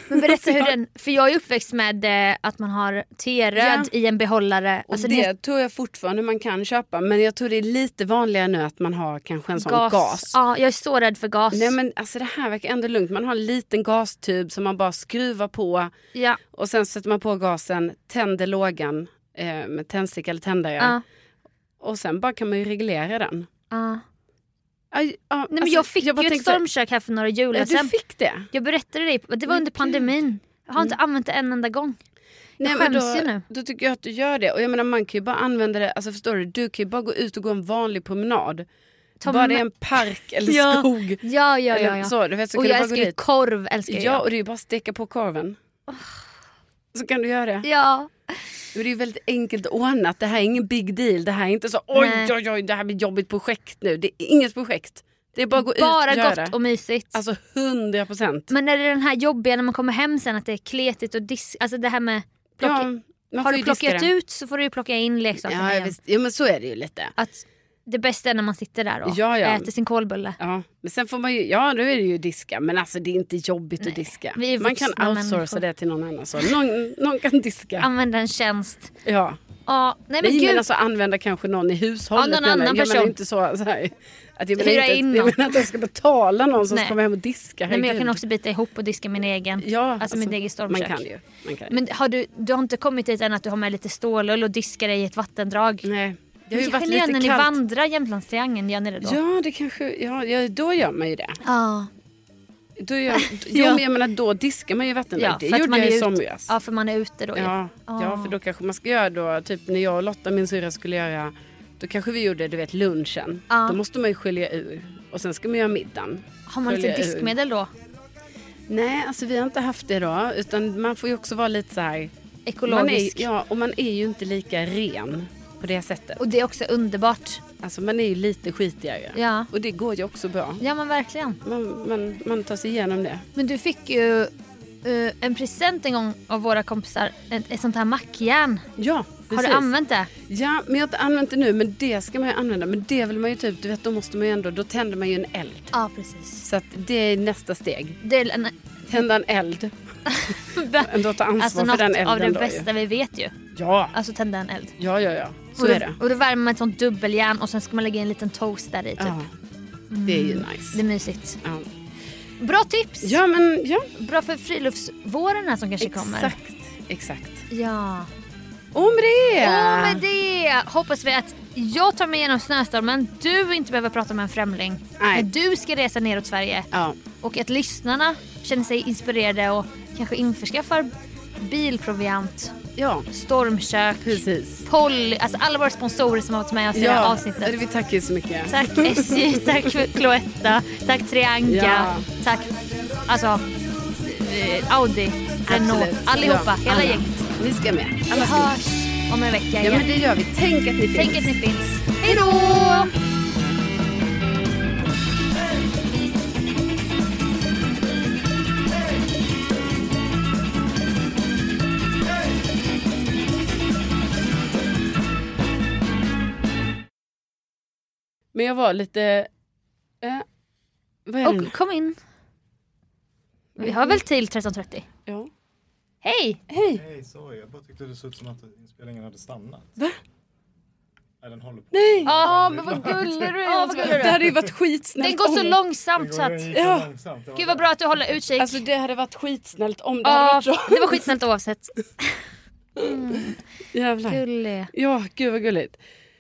[SPEAKER 2] Men berätta hur den... För jag är uppväxt med eh, att man har
[SPEAKER 1] Ja.
[SPEAKER 2] teröd i en behållare.
[SPEAKER 1] Och
[SPEAKER 2] Alltså
[SPEAKER 1] det,
[SPEAKER 2] det,
[SPEAKER 1] tror jag fortfarande man kan köpa. Men jag tror det är lite vanligare nu att man har kanske en sån gas.
[SPEAKER 2] Ja, jag är så rädd för gas.
[SPEAKER 1] Nej men alltså det här verkar ändå lugnt. Man har en liten gastub som man bara skruvar på.
[SPEAKER 2] ja.
[SPEAKER 1] Och sen sätter man på gasen, tänder lågan eh, med tändsticka eller tändare.
[SPEAKER 2] Ja.
[SPEAKER 1] Och sen bara kan man ju reglera den.
[SPEAKER 2] Ja.
[SPEAKER 1] Aj, ja,
[SPEAKER 2] Nej, men
[SPEAKER 1] alltså,
[SPEAKER 2] jag fick
[SPEAKER 1] bara
[SPEAKER 2] ju ett
[SPEAKER 1] tänkte så här,
[SPEAKER 2] stormkök här för några
[SPEAKER 1] Ja,
[SPEAKER 2] jular
[SPEAKER 1] du
[SPEAKER 2] sedan.
[SPEAKER 1] fick det?
[SPEAKER 2] Jag berättade dig, det var
[SPEAKER 1] Men
[SPEAKER 2] under
[SPEAKER 1] gud. Mm.
[SPEAKER 2] pandemin. Jag har inte använt det en enda gång. Jag
[SPEAKER 1] Nej, men
[SPEAKER 2] skäms
[SPEAKER 1] då,
[SPEAKER 2] ju nu.
[SPEAKER 1] då tycker jag att du gör det. Och jag menar man kan ju bara använda det, alltså förstår du? Du kan ju bara gå ut och gå en vanlig promenad.
[SPEAKER 2] Ta
[SPEAKER 1] bara det är
[SPEAKER 2] med-
[SPEAKER 1] en park eller
[SPEAKER 2] Ja,
[SPEAKER 1] skog.
[SPEAKER 2] Ja, ja, ja.
[SPEAKER 1] Eller
[SPEAKER 2] ja.
[SPEAKER 1] så, du vet, så
[SPEAKER 2] Och
[SPEAKER 1] kan du
[SPEAKER 2] jag
[SPEAKER 1] bara gå
[SPEAKER 2] älskar ju
[SPEAKER 1] dit.
[SPEAKER 2] korv. Älskar
[SPEAKER 1] Ja,
[SPEAKER 2] jag.
[SPEAKER 1] och det är ju bara att steka på korven. Så kan du göra det.
[SPEAKER 2] Ja.
[SPEAKER 1] Men Det är ju väldigt enkelt ordnat. Det här är ingen big deal. Det här är inte så oj,
[SPEAKER 2] Nej.
[SPEAKER 1] oj, oj, det här blir ett jobbigt projekt nu. Det är inget projekt. Det är bara att gå ut
[SPEAKER 2] Bara
[SPEAKER 1] och göra
[SPEAKER 2] gott
[SPEAKER 1] det.
[SPEAKER 2] och mysigt.
[SPEAKER 1] Alltså 100 procent.
[SPEAKER 2] Men är det den här jobbiga när man kommer hem sen att det är kletigt och disk... Alltså det här med... Plocka...
[SPEAKER 1] Ja, man får
[SPEAKER 2] har
[SPEAKER 1] ju
[SPEAKER 2] du
[SPEAKER 1] diska
[SPEAKER 2] plockat
[SPEAKER 1] det.
[SPEAKER 2] ut så får du ju plocka in leksakerna
[SPEAKER 1] Ja,
[SPEAKER 2] igen.
[SPEAKER 1] visst. ja, men så är det ju lite.
[SPEAKER 2] Att det bästa är när man sitter där och
[SPEAKER 1] Ja, ja.
[SPEAKER 2] äter sin kolbulle.
[SPEAKER 1] Ja, men sen får man ju, ja då är det ju diska, men alltså det är inte jobbigt att diska.
[SPEAKER 2] vi är
[SPEAKER 1] man kan
[SPEAKER 2] vuxna
[SPEAKER 1] outsourca
[SPEAKER 2] människor.
[SPEAKER 1] det till någon annan. Så. Någon, någon kan diska.
[SPEAKER 2] Använda en tjänst.
[SPEAKER 1] Ja.
[SPEAKER 2] Ja, nej men
[SPEAKER 1] Nej,
[SPEAKER 2] gud.
[SPEAKER 1] men alltså använda kanske någon i hushållet.
[SPEAKER 2] Ja, någon
[SPEAKER 1] menar jag.
[SPEAKER 2] annan
[SPEAKER 1] jag menar
[SPEAKER 2] person.
[SPEAKER 1] inte så, så här, att jag menar,
[SPEAKER 2] Hyra
[SPEAKER 1] inte,
[SPEAKER 2] in
[SPEAKER 1] jag
[SPEAKER 2] någon.
[SPEAKER 1] menar inte att jag ska betala någon som
[SPEAKER 2] Nej.
[SPEAKER 1] ska komma hem och diska.
[SPEAKER 2] nej, men jag
[SPEAKER 1] herregud.
[SPEAKER 2] kan också bita ihop och diska min egen.
[SPEAKER 1] Ja,
[SPEAKER 2] alltså, mitt eget
[SPEAKER 1] man
[SPEAKER 2] stormkök.
[SPEAKER 1] kan ju. Man kan ju.
[SPEAKER 2] Men har du, du har inte kommit dit än att du har med lite stålull och diskar dig i ett vattendrag?
[SPEAKER 1] Nej, det
[SPEAKER 2] Det
[SPEAKER 1] har ju varit lite
[SPEAKER 2] när
[SPEAKER 1] kallt.
[SPEAKER 2] ni vandrar Jämtlandstriangeln, gör ni det då?
[SPEAKER 1] Ja, det kanske, ja, ja, då gör man ju det.
[SPEAKER 2] Ja.
[SPEAKER 1] Då gör, jo,
[SPEAKER 2] Ja.
[SPEAKER 1] men jag menar, då diskar man ju vattendrag.
[SPEAKER 2] Ja,
[SPEAKER 1] det
[SPEAKER 2] för att
[SPEAKER 1] gjorde
[SPEAKER 2] man
[SPEAKER 1] jag
[SPEAKER 2] är
[SPEAKER 1] i
[SPEAKER 2] ute.
[SPEAKER 1] somras.
[SPEAKER 2] ja, för man är ute då ju.
[SPEAKER 1] Ja, ja,
[SPEAKER 2] Ah.
[SPEAKER 1] för då kanske man ska göra då, typ när jag och Lotta, min syrra, skulle göra, då kanske vi gjorde du vet lunchen.
[SPEAKER 2] Ja.
[SPEAKER 1] Då måste man ju skölja ur. Och sen ska man göra middagen.
[SPEAKER 2] Har man lite
[SPEAKER 1] Skölja ur.
[SPEAKER 2] diskmedel då?
[SPEAKER 1] Nej, alltså vi har inte haft det då. Utan man får ju också vara lite så här. Man är,
[SPEAKER 2] Ekologisk.
[SPEAKER 1] ja, och man är ju inte lika ren på det sättet.
[SPEAKER 2] Och det är också underbart.
[SPEAKER 1] Alltså man är ju lite skitigare.
[SPEAKER 2] Ja.
[SPEAKER 1] Och det går ju också bra.
[SPEAKER 2] Ja men verkligen.
[SPEAKER 1] Man, man, man tar sig igenom det.
[SPEAKER 2] Men du fick ju eh, en present en gång av våra kompisar. Ett, ett sånt här mackjärn.
[SPEAKER 1] Ja,
[SPEAKER 2] Har du
[SPEAKER 1] precis.
[SPEAKER 2] använt det?
[SPEAKER 1] Ja, men jag har inte använt det nu. Men det ska man ju använda. Men det vill man ju typ, du vet då måste man ju ändå, då tänder man ju en eld.
[SPEAKER 2] Ja precis.
[SPEAKER 1] Så att det är nästa steg.
[SPEAKER 2] Det är en,
[SPEAKER 1] Tända en eld. Ändå ta ansvar
[SPEAKER 2] alltså
[SPEAKER 1] för
[SPEAKER 2] något
[SPEAKER 1] den elden
[SPEAKER 2] av det
[SPEAKER 1] då
[SPEAKER 2] bästa vi vet ju.
[SPEAKER 1] Ju. Ja.
[SPEAKER 2] Alltså tända en eld.
[SPEAKER 1] ja, ja, ja. Så
[SPEAKER 2] och då,
[SPEAKER 1] är det.
[SPEAKER 2] Och då värmer man ett sånt dubbeljärn och sen ska man lägga in en liten toast där i typ.
[SPEAKER 1] Ja. Mm. Det är ju
[SPEAKER 2] Det är
[SPEAKER 1] nice.
[SPEAKER 2] mysigt.
[SPEAKER 1] Ja,
[SPEAKER 2] Bra tips!
[SPEAKER 1] ja men ja.
[SPEAKER 2] Bra för friluftsvåren här som kanske kommer.
[SPEAKER 1] Exakt. Exakt.
[SPEAKER 2] Ja.
[SPEAKER 1] Och med det!
[SPEAKER 2] Och med det hoppas vi att jag tar mig igenom snöstormen, du inte behöver prata med en främling.
[SPEAKER 1] Nej.
[SPEAKER 2] När du ska resa neråt Sverige.
[SPEAKER 1] Ja,
[SPEAKER 2] Och att lyssnarna känner sig inspirerade och kanske införskaffar bilproviant,
[SPEAKER 1] ja
[SPEAKER 2] stormkök,
[SPEAKER 1] precis.
[SPEAKER 2] Polly, alltså alla våra sponsorer som har varit med oss i det här
[SPEAKER 1] Ja,
[SPEAKER 2] avsnittet.
[SPEAKER 1] vi tackar ju så mycket.
[SPEAKER 2] Tack SJ, tack Cloetta, tack Trianca,
[SPEAKER 1] Ja.
[SPEAKER 2] tack alltså, eh, Audi, Renault,
[SPEAKER 1] Absolut.
[SPEAKER 2] allihopa,
[SPEAKER 1] Ja,
[SPEAKER 2] hela
[SPEAKER 1] alla.
[SPEAKER 2] gänget.
[SPEAKER 1] Ni ska med.
[SPEAKER 2] Vi
[SPEAKER 1] Alla ska med.
[SPEAKER 2] hörs om en vecka
[SPEAKER 1] Ja,
[SPEAKER 2] igen.
[SPEAKER 1] men det gör vi. Tänk att ni finns.
[SPEAKER 2] Tänk att ni finns. Hej då!
[SPEAKER 1] Men jag var lite... Eh, vad är det nu?
[SPEAKER 2] Och kom in. Vi har väl till 13.30?
[SPEAKER 1] Ja.
[SPEAKER 2] Hej!
[SPEAKER 1] Hej!
[SPEAKER 3] Hej, sorry. Jag bara tyckte det såg ut som att inspelningen hade stannat.
[SPEAKER 1] Va?
[SPEAKER 3] Nej, den håller på.
[SPEAKER 1] Nej!
[SPEAKER 2] Ja, men vad gullig du är.
[SPEAKER 1] Det hade ju varit skitsnällt
[SPEAKER 2] Den går så
[SPEAKER 1] om-
[SPEAKER 3] Den
[SPEAKER 2] långsamt
[SPEAKER 3] går-
[SPEAKER 2] så att...
[SPEAKER 3] Den gick
[SPEAKER 1] Ja.
[SPEAKER 3] så långsamt. Det var
[SPEAKER 2] Gud vad bra att du håller utkik.
[SPEAKER 1] Alltså det hade varit skitsnällt om det hade
[SPEAKER 2] Ja,
[SPEAKER 1] varit så.
[SPEAKER 2] det var skitsnällt oavsett.
[SPEAKER 1] Jävlar.
[SPEAKER 2] Gullig.
[SPEAKER 1] Ja, gud vad gulligt.